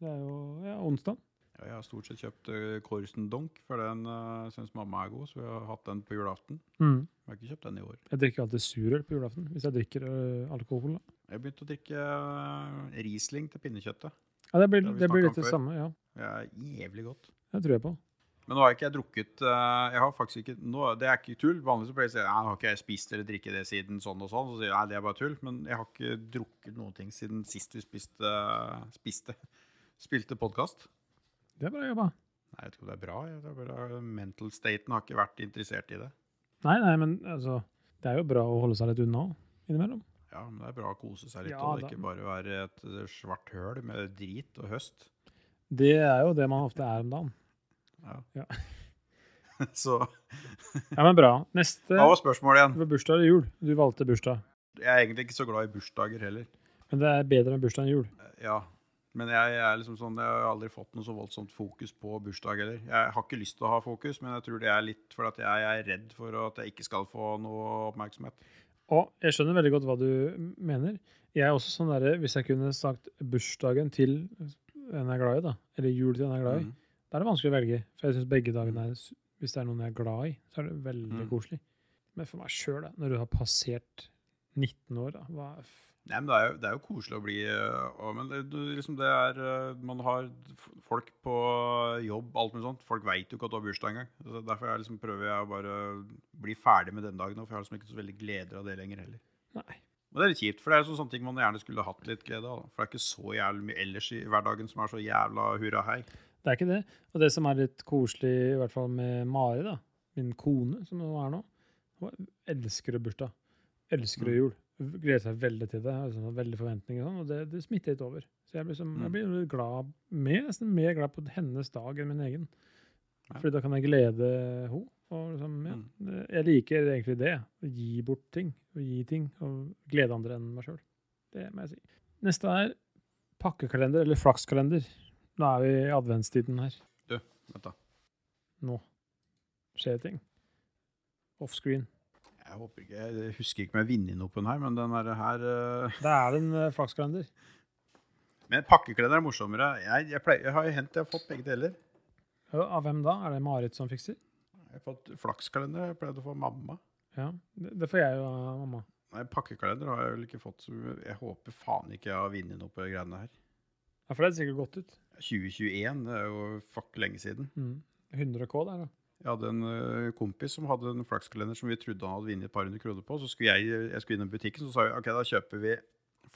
[SPEAKER 2] Det er jo ja, onsdag.
[SPEAKER 1] Ja, jeg har stort sett kjøpt eh, Korsen Donk, for den uh, syns mamma er god, så vi har hatt den på julaften. Jeg har ikke kjøpt den i år.
[SPEAKER 2] Jeg drikker alltid surøl på julaften hvis jeg drikker ø, alkohol. Da.
[SPEAKER 1] Jeg begynte å drikke eh, Riesling til pinnekjøttet.
[SPEAKER 2] Ja, det blir,
[SPEAKER 1] Det har vi
[SPEAKER 2] det
[SPEAKER 1] snakket
[SPEAKER 2] blir litt
[SPEAKER 1] om
[SPEAKER 2] det
[SPEAKER 1] før.
[SPEAKER 2] samme, ja.
[SPEAKER 1] Det er jævlig godt.
[SPEAKER 2] Det tror jeg på.
[SPEAKER 1] Men nå har ikke jeg drukket eh, Jeg har faktisk ikke nå, Det er ikke tull. Vanligvis så pleier jeg å si Nei, har ikke jeg spist eller drikket det siden sånn og sånn. Så sier jeg nei, det er bare tull. Men jeg har ikke drukket noen ting siden sist vi spiste, spiste spilte podkast.
[SPEAKER 2] Det er bra jobba.
[SPEAKER 1] Nei, jeg vet ikke om det er bra. Jeg, det er bare, mental staten har ikke vært interessert i det.
[SPEAKER 2] Nei, nei, men altså Det er jo bra å holde seg litt unna innimellom.
[SPEAKER 1] Ja, men det er bra å kose seg litt
[SPEAKER 2] Ja,
[SPEAKER 1] og
[SPEAKER 2] da.
[SPEAKER 1] ikke bare være et eh, svart høl med drit og høst.
[SPEAKER 2] Det er jo det man ofte er om dagen.
[SPEAKER 1] Så
[SPEAKER 2] Ja, men bra. Neste
[SPEAKER 1] hva var spørsmålet igjen?
[SPEAKER 2] var bursdag eller jul. Du valgte bursdag.
[SPEAKER 1] Jeg er egentlig ikke så glad i bursdager heller.
[SPEAKER 2] Men det er bedre enn bursdag enn jul.
[SPEAKER 1] Ja, men jeg er liksom sånn, jeg har aldri fått noe så voldsomt fokus på bursdag heller. Jeg har ikke lyst til å ha fokus, men jeg tror det er litt fordi at jeg er redd for at jeg ikke skal få noe oppmerksomhet.
[SPEAKER 2] Og jeg skjønner veldig godt hva du mener. Jeg er også sånn derre Hvis jeg kunne sagt bursdagen til en jeg er glad i, da, eller jul til en jeg er glad i,
[SPEAKER 1] Mm.
[SPEAKER 2] da er det vanskelig å velge. For jeg syns begge dagene er s- Hvis det er noen jeg er glad i, så er det veldig
[SPEAKER 1] Mm.
[SPEAKER 2] koselig. Men for meg sjøl, da, når du har passert 19 år, da hva er f
[SPEAKER 1] Nei, men det er jo, det er jo koselig å bli øh, og- Men det, du, liksom det er øh, Man har f- folk på jobb, alt mulig sånt. Folk veit jo ikke at du har bursdag engang. Så Derfor jeg liksom prøver jeg å bare bli ferdig med den dagen, nå, for jeg har liksom ikke så veldig gleder av det lenger heller.
[SPEAKER 2] Nei.
[SPEAKER 1] Og det er litt kjipt, for det er jo sånn, sånne ting man gjerne skulle hatt litt glede av. da. For det er ikke så jævlig mye ellers i hverdagen som er så jævla hurra hei.
[SPEAKER 2] Det er ikke det. Og det som er litt koselig, i hvert fall med Mari, da, min kone, som hun er nå, hun elsker å bursdag. Elsker å jul. Gleder seg veldig til det. har Liksom, veldig forventninger og sånn, og det, det smitter litt over. Så jeg blir, som, jeg blir litt glad, mer, nesten mer glad på hennes dag enn min egen.
[SPEAKER 1] Ja.
[SPEAKER 2] Fordi da kan jeg glede henne. Og liksom, ja, det- jeg liker egentlig det. Å gi bort ting. Å gi ting. Og glede andre enn meg sjøl. Det må jeg si. Neste er pakkekalender eller flakskalender. Nå er vi i adventstiden her.
[SPEAKER 1] Vent da.
[SPEAKER 2] Nå skjer ting. Offscreen.
[SPEAKER 1] Jeg håper ikke, jeg husker ikke om jeg vinner noe på den her, men den er her øh,
[SPEAKER 2] Der er det en eh, flakskalender.
[SPEAKER 1] Men pakkekleder er morsommere. Jeg, jeg, pleier, jeg har jo hendt, jeg har fått begge deler.
[SPEAKER 2] Ja, Av hvem da? Er det Marit som fikser?
[SPEAKER 1] Jeg har fått flakskalender, jeg pleide å få av mamma.
[SPEAKER 2] Ja, det, det får jeg jo av mamma.
[SPEAKER 1] Nei, pakkekalender har jeg vel ikke fått. Så jeg håper faen ikke jeg har vunnet noe på de greiene her.
[SPEAKER 2] Ja, for det er sikkert godt ut.
[SPEAKER 1] 2021, det er jo fuck lenge siden.
[SPEAKER 2] Mm. 100 K der, da.
[SPEAKER 1] Jeg hadde en ø, kompis som hadde en flakskalender som vi trodde han hadde vunnet et par hundre kroner på. Så skulle jeg, jeg skulle innom butikken, så sa jeg ok, da kjøper vi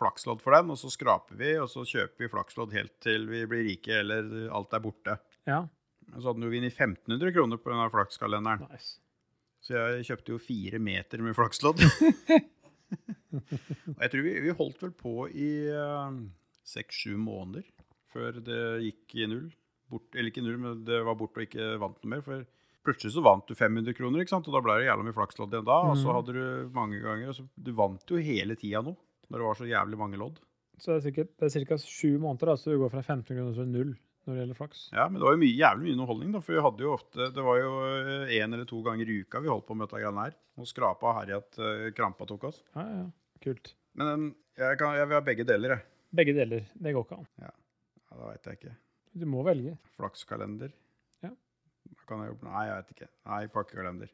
[SPEAKER 1] flakslodd for den, og så skraper vi, og så kjøper vi flakslodd helt til vi blir rike eller alt er borte.
[SPEAKER 2] Ja,
[SPEAKER 1] Men Så hadde han jo vunnet 1500 kroner på denne flakskalenderen.
[SPEAKER 2] nice.
[SPEAKER 1] Så jeg kjøpte jo fire meter med flakslodd. og jeg tror vi, vi holdt vel på i seks-sju måneder før det gikk i null. Bort, eller ikke null, men det var bort og ikke vant noe mer. For plutselig så vant du 500 kroner, ikke sant? og da ble det jævla mye flakslodd igjen da. Og så
[SPEAKER 2] Mhm.
[SPEAKER 1] hadde du mange ganger og så Du vant jo hele tida nå, når det var så jævlig mange lodd.
[SPEAKER 2] Så det er sikkert det er ca. sju måneder, da, så du går fra 15 kroner til null når det gjelder flaks.
[SPEAKER 1] Ja, men det var jo mye, jævlig mye underholdning, da. For vi hadde jo ofte Det var jo én eller to ganger i uka vi holdt på med dette greiene her. Og skrapa og herja at eh, krampa tok oss.
[SPEAKER 2] Ja, ja, Kult.
[SPEAKER 1] Men den, jeg, kan, jeg vil ha begge deler, jeg.
[SPEAKER 2] Begge deler. Det går ikke an.
[SPEAKER 1] Ja, da veit jeg ikke.
[SPEAKER 2] Du må velge.
[SPEAKER 1] Flakskalender.
[SPEAKER 2] Ja.
[SPEAKER 1] Da Kan jeg, jo- nei, jeg vet ikke. Nei, pakkekalender.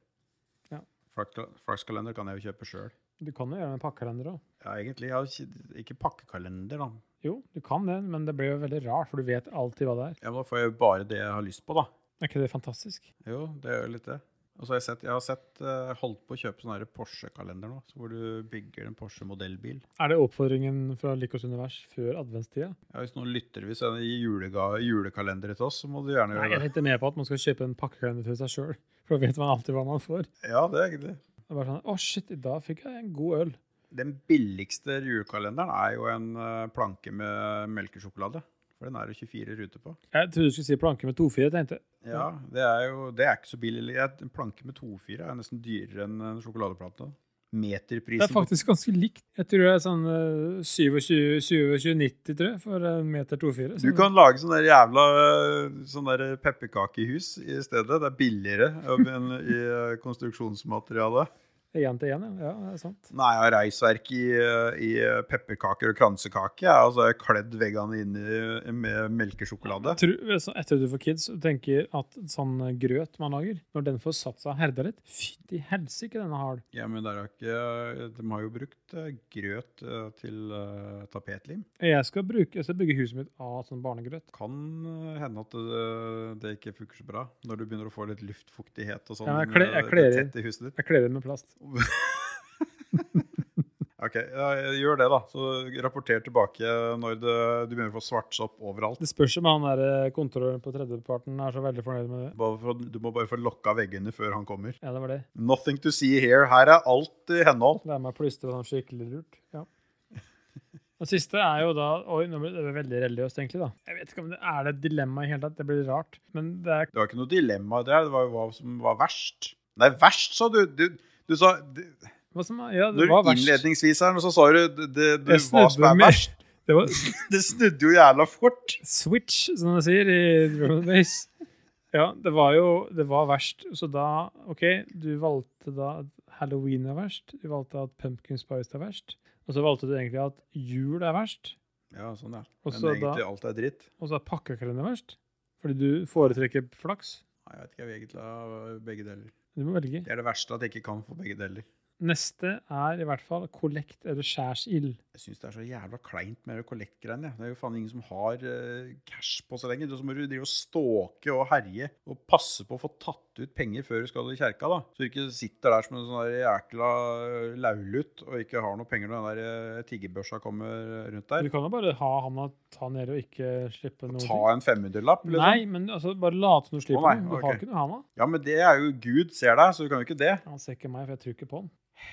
[SPEAKER 2] Ja.
[SPEAKER 1] Flakska- Flakskalender kan jeg jo kjøpe sjøl.
[SPEAKER 2] Du kan jo gjøre en pakkekalender òg.
[SPEAKER 1] Ja, egentlig. Jeg har ikke, ikke pakkekalender, da.
[SPEAKER 2] Jo, du kan det, men det blir jo veldig rart, for du vet alltid hva det er.
[SPEAKER 1] Ja, men Da får jeg jo bare det jeg har lyst på, da.
[SPEAKER 2] Er ikke det fantastisk?
[SPEAKER 1] Jo, det gjør litt det. Og så har jeg sett, jeg har sett eh, holdt på å kjøpe sånn her Porsche-kalender nå, så hvor du bygger en Porsche-modellbil.
[SPEAKER 2] Er det oppfordringen fra Likos univers før adventstida?
[SPEAKER 1] Ja, hvis noen lytter vil sende julega, julekalendere til oss, så må du gjerne
[SPEAKER 2] Nei,
[SPEAKER 1] gjøre
[SPEAKER 2] jeg
[SPEAKER 1] det.
[SPEAKER 2] tenkte mer på at man skal kjøpe en pakkekalender til seg sjøl. For da vet man alltid hva man får.
[SPEAKER 1] Ja, det er egentlig
[SPEAKER 2] Det er bare sånn, å shit, i dag fikk jeg en god øl.
[SPEAKER 1] Den billigste julekalenderen er jo en eh, planke med melkesjokolade. For den er det 24 ruter på.
[SPEAKER 2] Jeg trodde du skulle si planke med 2-4, tenkte jeg.
[SPEAKER 1] Ja, Det er jo det er ikke så billig. Jeg- En planke med 2-4 er nesten dyrere enn en sjokoladeplate.
[SPEAKER 2] Det er
[SPEAKER 1] Meterprisen på-
[SPEAKER 2] faktisk ganske likt. Jeg tror det er sånn 27-90, tror jeg, for en meter 2-4.
[SPEAKER 1] Du kan lage sånne der jævla eh, sånne der pepperkakehus i stedet. Det er billigere enn i eh, konstruksjonsmaterialet.
[SPEAKER 2] Én Sånn, til én, ja. ja. Det er sant.
[SPEAKER 1] Nei, jeg har reisverk i, eh, i eh, pepperkaker og kransekake. Jeg har altså kledd veggene inn i, med melkesjokolade.
[SPEAKER 2] Tror, altså, etter du får kids, du tenker at sånn grøt man lager, når den får satt seg og herda litt Fytti helsike, den er hard.
[SPEAKER 1] Ja, men der har ikke, de har jo brukt eh, grøt eh, til eh, tapetlim.
[SPEAKER 2] Jeg skal, bruke, jeg skal bygge huset mitt av sånn barnegrøt.
[SPEAKER 1] Kan eh, hende at det, det ikke funker så bra når du begynner å få litt luftfuktighet og sånn.
[SPEAKER 2] Ja, jeg kle- jeg
[SPEAKER 1] eh,
[SPEAKER 2] kler i-
[SPEAKER 1] tett i huset ditt.
[SPEAKER 2] Jeg kler den med plast.
[SPEAKER 1] Ok, ja, Gjør det, da. Så rapporter tilbake når det, du begynner å få svartsopp overalt.
[SPEAKER 2] Det spørs om han der eh, kontrolløren på tredjeparten er så veldig fornøyd med det.
[SPEAKER 1] Bare for, du må bare få lokka veggene før han kommer.
[SPEAKER 2] Ja, det var det.
[SPEAKER 1] Nothing to see here. Her er alt i henhold.
[SPEAKER 2] Lære meg å plystre sånn skikkelig lurt. Ja. Og siste er jo da Oi, nå ble det veldig religiøst, egentlig. da. Jeg vet ikke om det er det et dilemma i hele tatt. Det blir rart. Men det er
[SPEAKER 1] Det var ikke noe dilemma der. Det var jo hva som var verst. Nei, verst, sa du. Du, du sa du,
[SPEAKER 2] Hva som er, ja, det
[SPEAKER 1] Når
[SPEAKER 2] var verst.
[SPEAKER 1] innledningsvis her, nå, så sa du, det, det, du hva
[SPEAKER 2] Jeg
[SPEAKER 1] som
[SPEAKER 2] snudde
[SPEAKER 1] er
[SPEAKER 2] meg.
[SPEAKER 1] verst.
[SPEAKER 2] Det var
[SPEAKER 1] Det snudde jo jævla fort.
[SPEAKER 2] switch, som de sier i Drum and Bass. Ja, det var jo Det var verst. Så da OK, du valgte da at halloween er verst. Du valgte at pumpkin spice er verst. Og så valgte du egentlig at jul er verst.
[SPEAKER 1] Ja, sånn ja.
[SPEAKER 2] Og
[SPEAKER 1] Men
[SPEAKER 2] så da-
[SPEAKER 1] egentlig alt er dritt.
[SPEAKER 2] Og så er pakkekalender verst. Fordi du foretrekker flaks.
[SPEAKER 1] Nei, jeg vet ikke, jeg vil egentlig ha begge deler.
[SPEAKER 2] Du må velge.
[SPEAKER 1] Det er det verste, at jeg ikke kan få begge deler.
[SPEAKER 2] Neste er i hvert fall kollekt eller skjærsild.
[SPEAKER 1] Jeg syns det er så jævla kleint med det kollektgreiene. jeg. Det er jo faen ingen som har eh, cash på så lenge. Så må du drive og stalke og herje og passe på å få tatt ut penger før du skal i kjerka, da. Så du ikke sitter der som en sånn der jækla eh, laulut og ikke har noe penger når den der eh, tiggerbørsa kommer rundt
[SPEAKER 2] Du
[SPEAKER 1] der.
[SPEAKER 2] kan jo bare ha handa ta nede og ikke slippe noe.
[SPEAKER 1] Ta en 500-lapp, liksom.
[SPEAKER 2] Nei, men altså, bare late som du slipper
[SPEAKER 1] Å, nei,
[SPEAKER 2] den. Du
[SPEAKER 1] ok.
[SPEAKER 2] har ikke noe handa.
[SPEAKER 1] Ja, men det er jo Gud ser deg, så du kan jo ikke det.
[SPEAKER 2] Han ser ikke meg, for jeg tror ikke på han.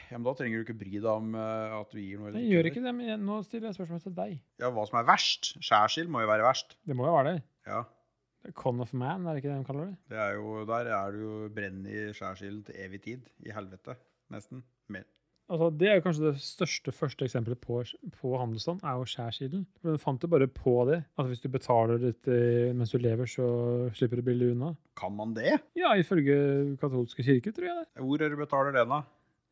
[SPEAKER 1] Ja, men Da trenger du ikke bry deg om eh, at du gir noe. eller
[SPEAKER 2] Jeg gjør
[SPEAKER 1] eller.
[SPEAKER 2] ikke det, men jeg, nå stiller jeg spørsmål til deg.
[SPEAKER 1] Ja, Hva som er verst? Skjærsild må jo være verst.
[SPEAKER 2] Det må jo være det.
[SPEAKER 1] Ja,
[SPEAKER 2] Con of man, er det ikke det de kaller det?
[SPEAKER 1] det er jo, Der er du jo brenn i skjærsilden til evig tid. I helvete, nesten. Mer.
[SPEAKER 2] Altså, det er jo kanskje det største første eksempelet på, på handelsstand, er jo skjærsilden. For Du fant jo bare på det, at hvis du betaler litt eh, mens du lever, så slipper du billig unna.
[SPEAKER 1] Kan man det?
[SPEAKER 2] Ja, ifølge katolske kirke, tror jeg det.
[SPEAKER 1] Hvor er det du betaler det, da?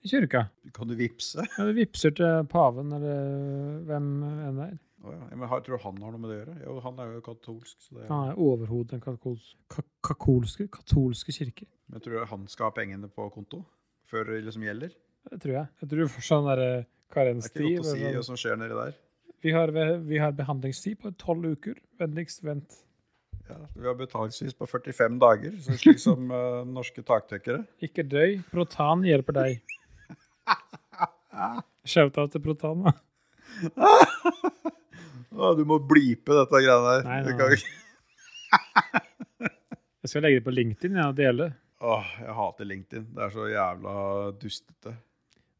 [SPEAKER 2] I kirka.
[SPEAKER 1] Kan du vippse?
[SPEAKER 2] Ja, du vipser til paven eller hvem enn det er.
[SPEAKER 1] Å ja. men har- Tror du han har noe med det å gjøre? Jo, han er jo katolsk. så det...
[SPEAKER 2] Han er overhodet den katolske, ka kakolske- katolske kirke.
[SPEAKER 1] Men tror du han skal ha pengene på konto før det liksom gjelder?
[SPEAKER 2] Det tror jeg. Jeg tror for sånn der eh,
[SPEAKER 1] Det er ikke
[SPEAKER 2] karenstid
[SPEAKER 1] godt å si altså.
[SPEAKER 2] eller
[SPEAKER 1] hva
[SPEAKER 2] sånn.
[SPEAKER 1] som skjer nedi der.
[SPEAKER 2] vi, har, ve- vi har behandlingstid på tolv uker. Vennligst vent.
[SPEAKER 1] Ja, vi har betalingsvis på 45 dager, så slik som eh, norske taktekkere.
[SPEAKER 2] Ikke døy. Protan hjelper deg. Shout-out til Protan, da.
[SPEAKER 1] Å, du må blipe dette greiene her.
[SPEAKER 2] Nei,
[SPEAKER 1] Du
[SPEAKER 2] nei,
[SPEAKER 1] kan
[SPEAKER 2] nei.
[SPEAKER 1] jo ikke-
[SPEAKER 2] Jeg skal legge det på LinkedIn ja, og dele.
[SPEAKER 1] Åh, jeg hater LinkedIn. Det er så jævla dustete.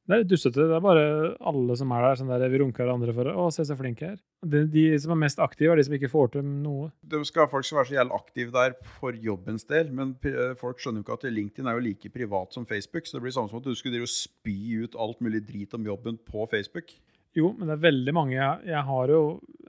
[SPEAKER 2] Det er litt dustete. Det er bare alle som er der, sånn der vi runker andre for å se så flink jeg er. De, de som er mest aktive, er de som ikke får til noe.
[SPEAKER 1] De skal, folk skal være så jævlig aktive der for jobbens del, men pri- eh, folk skjønner jo ikke at LinkedIn er jo like privat som Facebook, så det blir samme som at du skulle drive og spy ut alt mulig drit om jobben på Facebook.
[SPEAKER 2] Jo, men det er veldig mange. Jeg, jeg har jo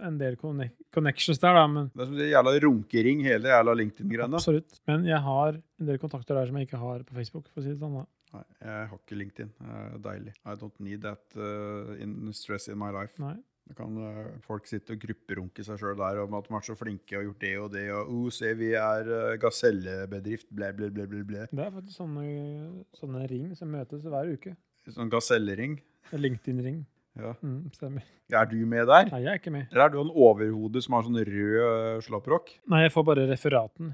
[SPEAKER 2] en del conne- connections der, da, men
[SPEAKER 1] Det er som en jævla runkering, hele jævla LinkedIn-greiene.
[SPEAKER 2] absolutt. Men jeg har en del kontakter der som jeg ikke har på Facebook, for å si det sånn. da.
[SPEAKER 1] Nei, jeg har ikke LinkedIn. Det er deilig. I don't need that eh, in stress in my life.
[SPEAKER 2] Nei.
[SPEAKER 1] Da kan eh, folk sitte og grupperunke seg sjøl der om at de er så flinke og har gjort det og det, og oh, se, vi er eh, gasellebedrift, blæ, blæ, blæ, blæ, blæ.
[SPEAKER 2] Det er faktisk sånne, sånne ring som møtes hver uke.
[SPEAKER 1] Sånn gasellering.
[SPEAKER 2] En LinkedIn-ring.
[SPEAKER 1] Ja.
[SPEAKER 2] Mm, stemmer.
[SPEAKER 1] Er du med der?
[SPEAKER 2] Nei, jeg er ikke med.
[SPEAKER 1] Eller er du en overhode som har sånn rød eh, slåprock?
[SPEAKER 2] Nei, jeg får bare referaten.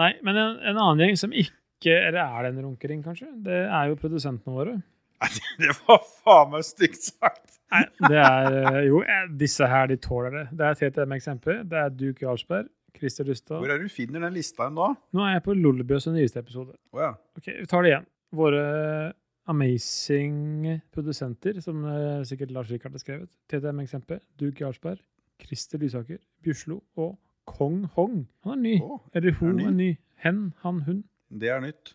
[SPEAKER 2] Nei, men en, en annen gjeng som ikke Eller er det en runkering, kanskje? Det er jo produsentene våre.
[SPEAKER 1] Nei, det var faen meg stygt sagt!
[SPEAKER 2] Nei, det er eh, Jo, eh, disse her, de tåler det. Det er TTM-eksempel. Det er Duke Jarlsberg, Christer Lystad
[SPEAKER 1] Hvor er det du finner den lista hen da?
[SPEAKER 2] Nå er jeg på Lollebjøs nyeste episode.
[SPEAKER 1] Å ja.
[SPEAKER 2] Ok, Vi tar det igjen. Våre amazing produsenter, som eh, sikkert Lars Rikard har skrevet. TTM eksempel. Duke Jarlsberg, Christer Lysaker, Bjuslo og Kong Hong. Han er ny.
[SPEAKER 1] Å,
[SPEAKER 2] Eller
[SPEAKER 1] er
[SPEAKER 2] hun
[SPEAKER 1] ny.
[SPEAKER 2] er ny. Hen, han, hun.
[SPEAKER 1] det er nytt.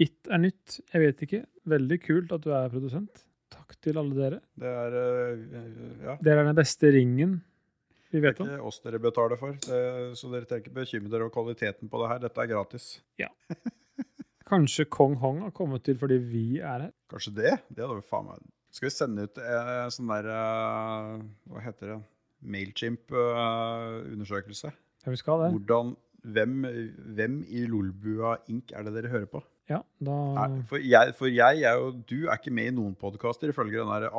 [SPEAKER 2] It er nytt. Jeg vet ikke. Veldig kult at du er produsent. Takk til alle dere.
[SPEAKER 1] Det er eh, Ja.
[SPEAKER 2] Dere er den beste ringen vi
[SPEAKER 1] Det er
[SPEAKER 2] vet om.
[SPEAKER 1] ikke oss dere betaler for, det, så dere trenger ikke bekymre dere over kvaliteten på det her. Dette er gratis.
[SPEAKER 2] Kanskje Kong Hong har kommet til fordi vi er her?
[SPEAKER 1] Kanskje det? Det hadde vi faen meg Skal vi sende ut eh, sånn der eh, Hva heter det? Mailchimp-undersøkelse.
[SPEAKER 2] Ja, vi skal det.
[SPEAKER 1] Hvordan hvem, hvem i Lolbua Inc. er det dere hører på?
[SPEAKER 2] Ja, da
[SPEAKER 1] Er- For jeg, for jeg er jo Du er ikke med i noen podkaster, ifølge den der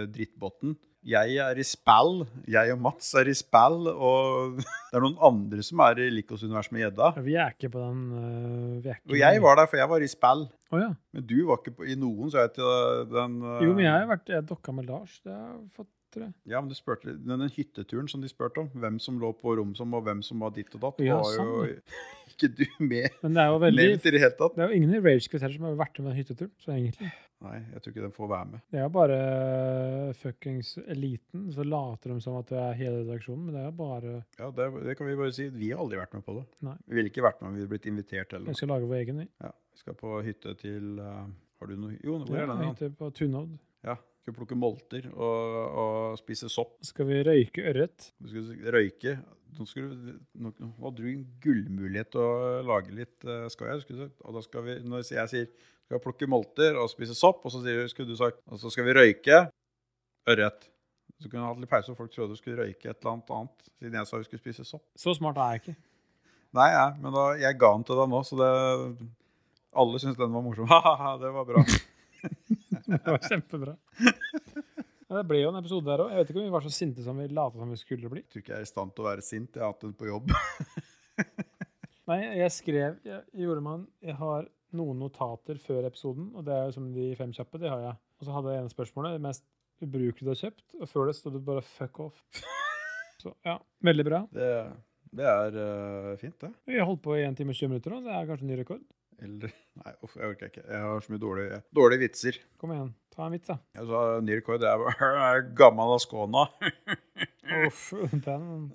[SPEAKER 1] AI-drittbotten. Jeg er i spill. Jeg og Mats er i spill, og det er noen andre som er i Likos-universet med gjedda.
[SPEAKER 2] Ja, Vi er ikke på den øh, vi er ikke
[SPEAKER 1] Og jeg var der, for jeg var i spill.
[SPEAKER 2] Å ja.
[SPEAKER 1] Men du var ikke på, i noen, så jeg til den eh,
[SPEAKER 2] Jo, men jeg har vært jeg dokka med Lars. Det har jeg fått, tror jeg.
[SPEAKER 1] Ja, men du spurte, den, den hytteturen som de spurte om, hvem som lå på rom som, og hvem som var ditt og datt,
[SPEAKER 2] Ja,
[SPEAKER 1] var
[SPEAKER 2] sånn,
[SPEAKER 1] jo ikke du med,
[SPEAKER 2] Men det er jo veldig
[SPEAKER 1] nevnt i det hele tatt.
[SPEAKER 2] Det er jo ingen i Rage Quit heller som har vært med på den hytteturen. Så egentlig.
[SPEAKER 1] Nei, jeg tror ikke den får være med.
[SPEAKER 2] Det er jo bare øh, fuckings eliten. Så later de som at det er hele redaksjonen, men det er jo bare øh,
[SPEAKER 1] Ja, det, det kan vi bare si. Vi har aldri vært med på det.
[SPEAKER 2] Nei.
[SPEAKER 1] Vi ville ikke vært med om vi hadde blitt invitert
[SPEAKER 2] Vi
[SPEAKER 1] heller.
[SPEAKER 2] skal lage vår egen. vi.
[SPEAKER 1] Ja, vi skal på hytte til eh, Har du noe Jo, hvor
[SPEAKER 2] Ja,
[SPEAKER 1] er den? da?
[SPEAKER 2] hytte på Tunhovd.
[SPEAKER 1] Ja. Skal plukke molter og, og spise sopp.
[SPEAKER 2] Så skal vi røyke ørret.
[SPEAKER 1] Du skulle røyke. Nå, skulle, du- nå, nå hadde du en gullmulighet til å lage litt eh, skal jeg, skulle du sagt. Og da skal vi, når jeg sier skal jeg plukke molter og spise sopp, og så sier du, skulle du sagt, og så skal vi røyke ørret. Så kunne du hatt litt pause, og folk trodde du skulle røyke et eller annet annet, siden jeg sa vi skulle spise sopp.
[SPEAKER 2] Så smart er jeg ikke.
[SPEAKER 1] Nei, ja, men da, jeg ga den til deg nå, så det, alle syntes den var morsom. Hahaha, det var bra.
[SPEAKER 2] Det var kjempebra. Ja, det ble jo en episode der òg. Jeg vet ikke om vi var så sinte som vi lata som vi skulle bli.
[SPEAKER 1] Jeg tror ikke jeg er i stand til å være sint, jeg har hatt den på jobb.
[SPEAKER 2] Nei, jeg skrev Jeg, gjorde meg en- jeg har noen notater før episoden, og det er jo som de fem kjappe. Det har jeg. Og så hadde jeg ene spørsmålet. Det mest ubrukelige du har kjøpt. Og før det stod det bare 'fuck off'. Så ja, veldig bra.
[SPEAKER 1] Det, det er eh, fint, det.
[SPEAKER 2] Vi har holdt på i 1 time og 20 minutter nå. Det er kanskje en ny rekord.
[SPEAKER 1] Eller, nei, uff, jeg orker ikke. Jeg har så mye dårlige, dårlige vitser.
[SPEAKER 2] Kom igjen, ta en vits, da.
[SPEAKER 1] Jeg sa ny rekord, det er bare gammel av skåna.
[SPEAKER 2] Uff, den,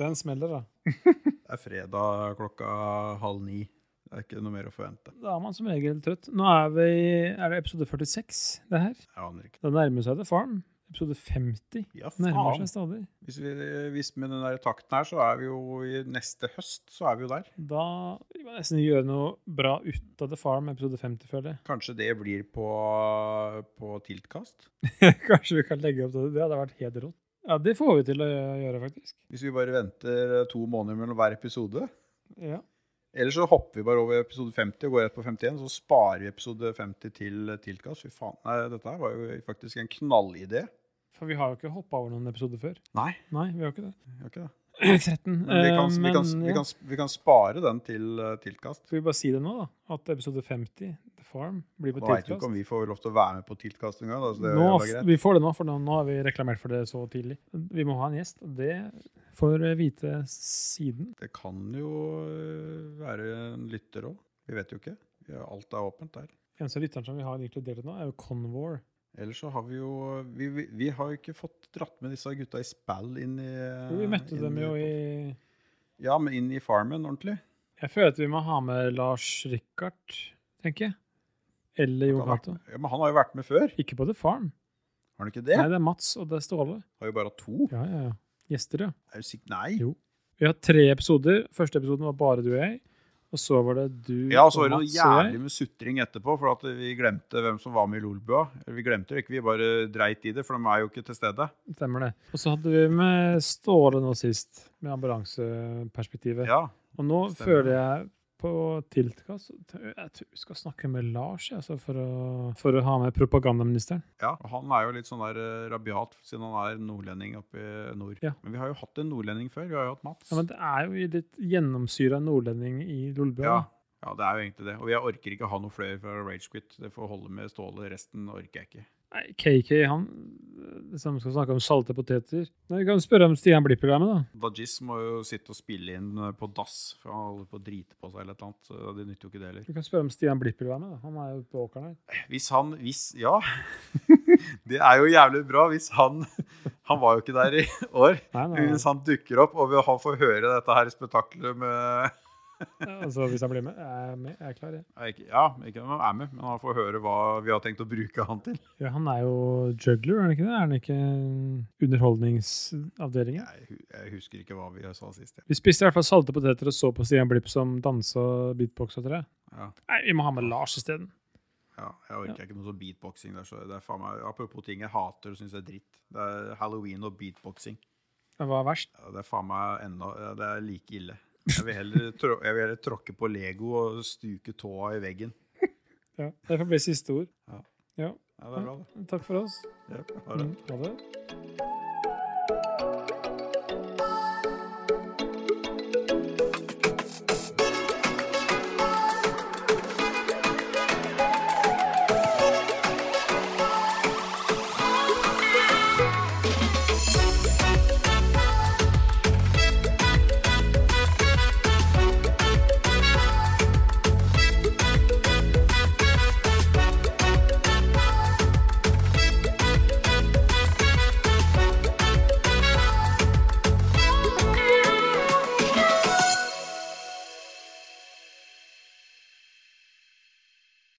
[SPEAKER 2] den smeller, da.
[SPEAKER 1] Det er fredag klokka halv ni. Det er ikke noe mer å forvente.
[SPEAKER 2] Da er man som regel trøtt. Nå er vi Er det episode 46, det her?
[SPEAKER 1] Jeg aner ikke.
[SPEAKER 2] Det nærmer seg The Farm. Episode 50
[SPEAKER 1] Ja,
[SPEAKER 2] nærmer
[SPEAKER 1] faen.
[SPEAKER 2] seg stadig.
[SPEAKER 1] Hvis, vi, hvis med den der takten her, så er vi jo i neste høst, så er vi jo der.
[SPEAKER 2] Da vi må nesten gjøre noe bra ut av The Farm, episode 50, føler jeg.
[SPEAKER 1] Kanskje det blir på, på tiltkast?
[SPEAKER 2] Kanskje vi kan legge opp til det. Det hadde vært helt rått. Ja, det får vi til å gjøre, faktisk.
[SPEAKER 1] Hvis vi bare venter to måneder mellom hver episode?
[SPEAKER 2] Ja.
[SPEAKER 1] Eller så hopper vi bare over episode 50 og går rett på 51, så sparer vi episode 50 til tiltkast. Fy faen, nei, dette her var jo faktisk en knallidé.
[SPEAKER 2] For vi har jo ikke hoppa over noen episoder før.
[SPEAKER 1] Nei,
[SPEAKER 2] Nei, vi har ikke det.
[SPEAKER 1] vi har ikke det.
[SPEAKER 2] 13.
[SPEAKER 1] Men vi kan, vi,
[SPEAKER 2] eh,
[SPEAKER 1] kan,
[SPEAKER 2] men,
[SPEAKER 1] vi,
[SPEAKER 2] ja.
[SPEAKER 1] kan, vi kan spare den til eh, tiltkast.
[SPEAKER 2] Skal vi bare si det nå, da? At episode 50, The Farm, blir på
[SPEAKER 1] Nå veit vi ikke om
[SPEAKER 2] tilkast.
[SPEAKER 1] vi får lov til å være med på tiltkast engang. da, så det
[SPEAKER 2] Nå,
[SPEAKER 1] er greit.
[SPEAKER 2] vi får det nå, for nå, nå har vi reklamert for det så tidlig. Vi må ha en gjest, og det får eh, vite siden.
[SPEAKER 1] Det kan jo eh, være en lytter òg. Vi vet jo ikke. Vi har- Alt er åpent der.
[SPEAKER 2] Eneste lytteren som vi har inkludert nå, er jo Convor.
[SPEAKER 1] Ellers så har vi jo Vi, vi, vi har jo ikke fått dratt med disse gutta i spill inn i
[SPEAKER 2] Jo, Vi møtte
[SPEAKER 1] inn
[SPEAKER 2] dem jo i
[SPEAKER 1] Ja, men inn i Farmen ordentlig.
[SPEAKER 2] Jeg føler at vi må ha med Lars Rikard, tenker jeg. Eller Jon
[SPEAKER 1] Han har,
[SPEAKER 2] Cato.
[SPEAKER 1] ja, men han har jo vært med før.
[SPEAKER 2] Ikke på The Farm.
[SPEAKER 1] Har han ikke det?
[SPEAKER 2] Nei, det er Mats og det er Ståle.
[SPEAKER 1] Har jo bare hatt to.
[SPEAKER 2] Ja, ja, ja. Gjester, ja.
[SPEAKER 1] Er du sikker? Nei.
[SPEAKER 2] Jo. Vi har tre episoder. Første episoden var bare du og jeg. Og så var det du
[SPEAKER 1] Ja, og så var det
[SPEAKER 2] og
[SPEAKER 1] noe
[SPEAKER 2] Mats og jeg.
[SPEAKER 1] jævlig med sutring etterpå, for at vi glemte hvem som var med i Lolbua. Eller Vi glemte det ikke, vi bare dreit i det, for de er jo ikke til stede.
[SPEAKER 2] Stemmer det. Og så hadde vi med Ståle nå sist, med ambulanseperspektivet.
[SPEAKER 1] Ja,
[SPEAKER 2] og nå
[SPEAKER 1] stemmer.
[SPEAKER 2] føler jeg på tiltkast Jeg tror vi skal snakke med Lars jeg, altså, for, å, for å ha med propagandaministeren.
[SPEAKER 1] ja. Og han er jo litt sånn der eh, rabiat, siden han er nordlending oppe i nord.
[SPEAKER 2] Ja.
[SPEAKER 1] Men vi har jo hatt en nordlending før, vi har jo hatt Mats.
[SPEAKER 2] Ja, men det er jo litt gjennomsyra nordlending i Lolbø.
[SPEAKER 1] ja. Ja, det er jo egentlig det. Og jeg orker ikke ha noe flere fra Ragequit. Det får holde med Ståle, resten orker jeg ikke.
[SPEAKER 2] Nei, KK, han øh, som skal snakke om salte poteter Nei, Vi kan spørre om Stian Blipp-programmet, da.
[SPEAKER 1] Dajis må jo sitte og spille inn eh, på dass, for han holder på å drite på seg eller et eller annet. Så det nytter jo ikke det heller.
[SPEAKER 2] Vi kan spørre om Stian Blipp-programmet, da. Han er jo på åkeren her.
[SPEAKER 1] Hvis han hvis, Ja. Det er jo jævlig bra hvis han Han var jo ikke der i år.
[SPEAKER 2] Nei, nei,
[SPEAKER 1] Hvis han dukker opp og vi har- får høre dette her spetakkelet med
[SPEAKER 2] Altså, hvis han blir med, er jeg med. Jeg er klar, jeg.
[SPEAKER 1] Nei, ikke- Ja, ikke om han er med, men han får høre hva vi har tenkt å bruke han til.
[SPEAKER 2] Ja, han er jo juggler, er han ikke det? Er han ikke underholdningsavdelingen?
[SPEAKER 1] Jeg, hu- jeg husker ikke hva vi sa sist. jeg.
[SPEAKER 2] Vi spiste i hvert fall salte poteter og så på Stian Blipp som dansa beatbox og tre.
[SPEAKER 1] Ja,
[SPEAKER 2] Nei, vi må ha med Lars isteden.
[SPEAKER 1] ja, jeg orker ikke noe sånn beatboxing der. Så det er faen meg, apropos ting jeg hater og syns er dritt. Det er halloween og beatboxing.
[SPEAKER 2] Hva er verst?
[SPEAKER 1] Ja, det er faen meg enda ja, Det er like ille. Jeg vil heller, trå, jeg vil heller tråkke på Lego og stuke tåa i veggen.
[SPEAKER 2] Ja, det får bli siste ord.
[SPEAKER 1] Ja.
[SPEAKER 2] Ja,
[SPEAKER 1] Ja, det er bra, det.
[SPEAKER 2] takk for oss.
[SPEAKER 1] Ja, ha det.
[SPEAKER 2] Mm, Ha det.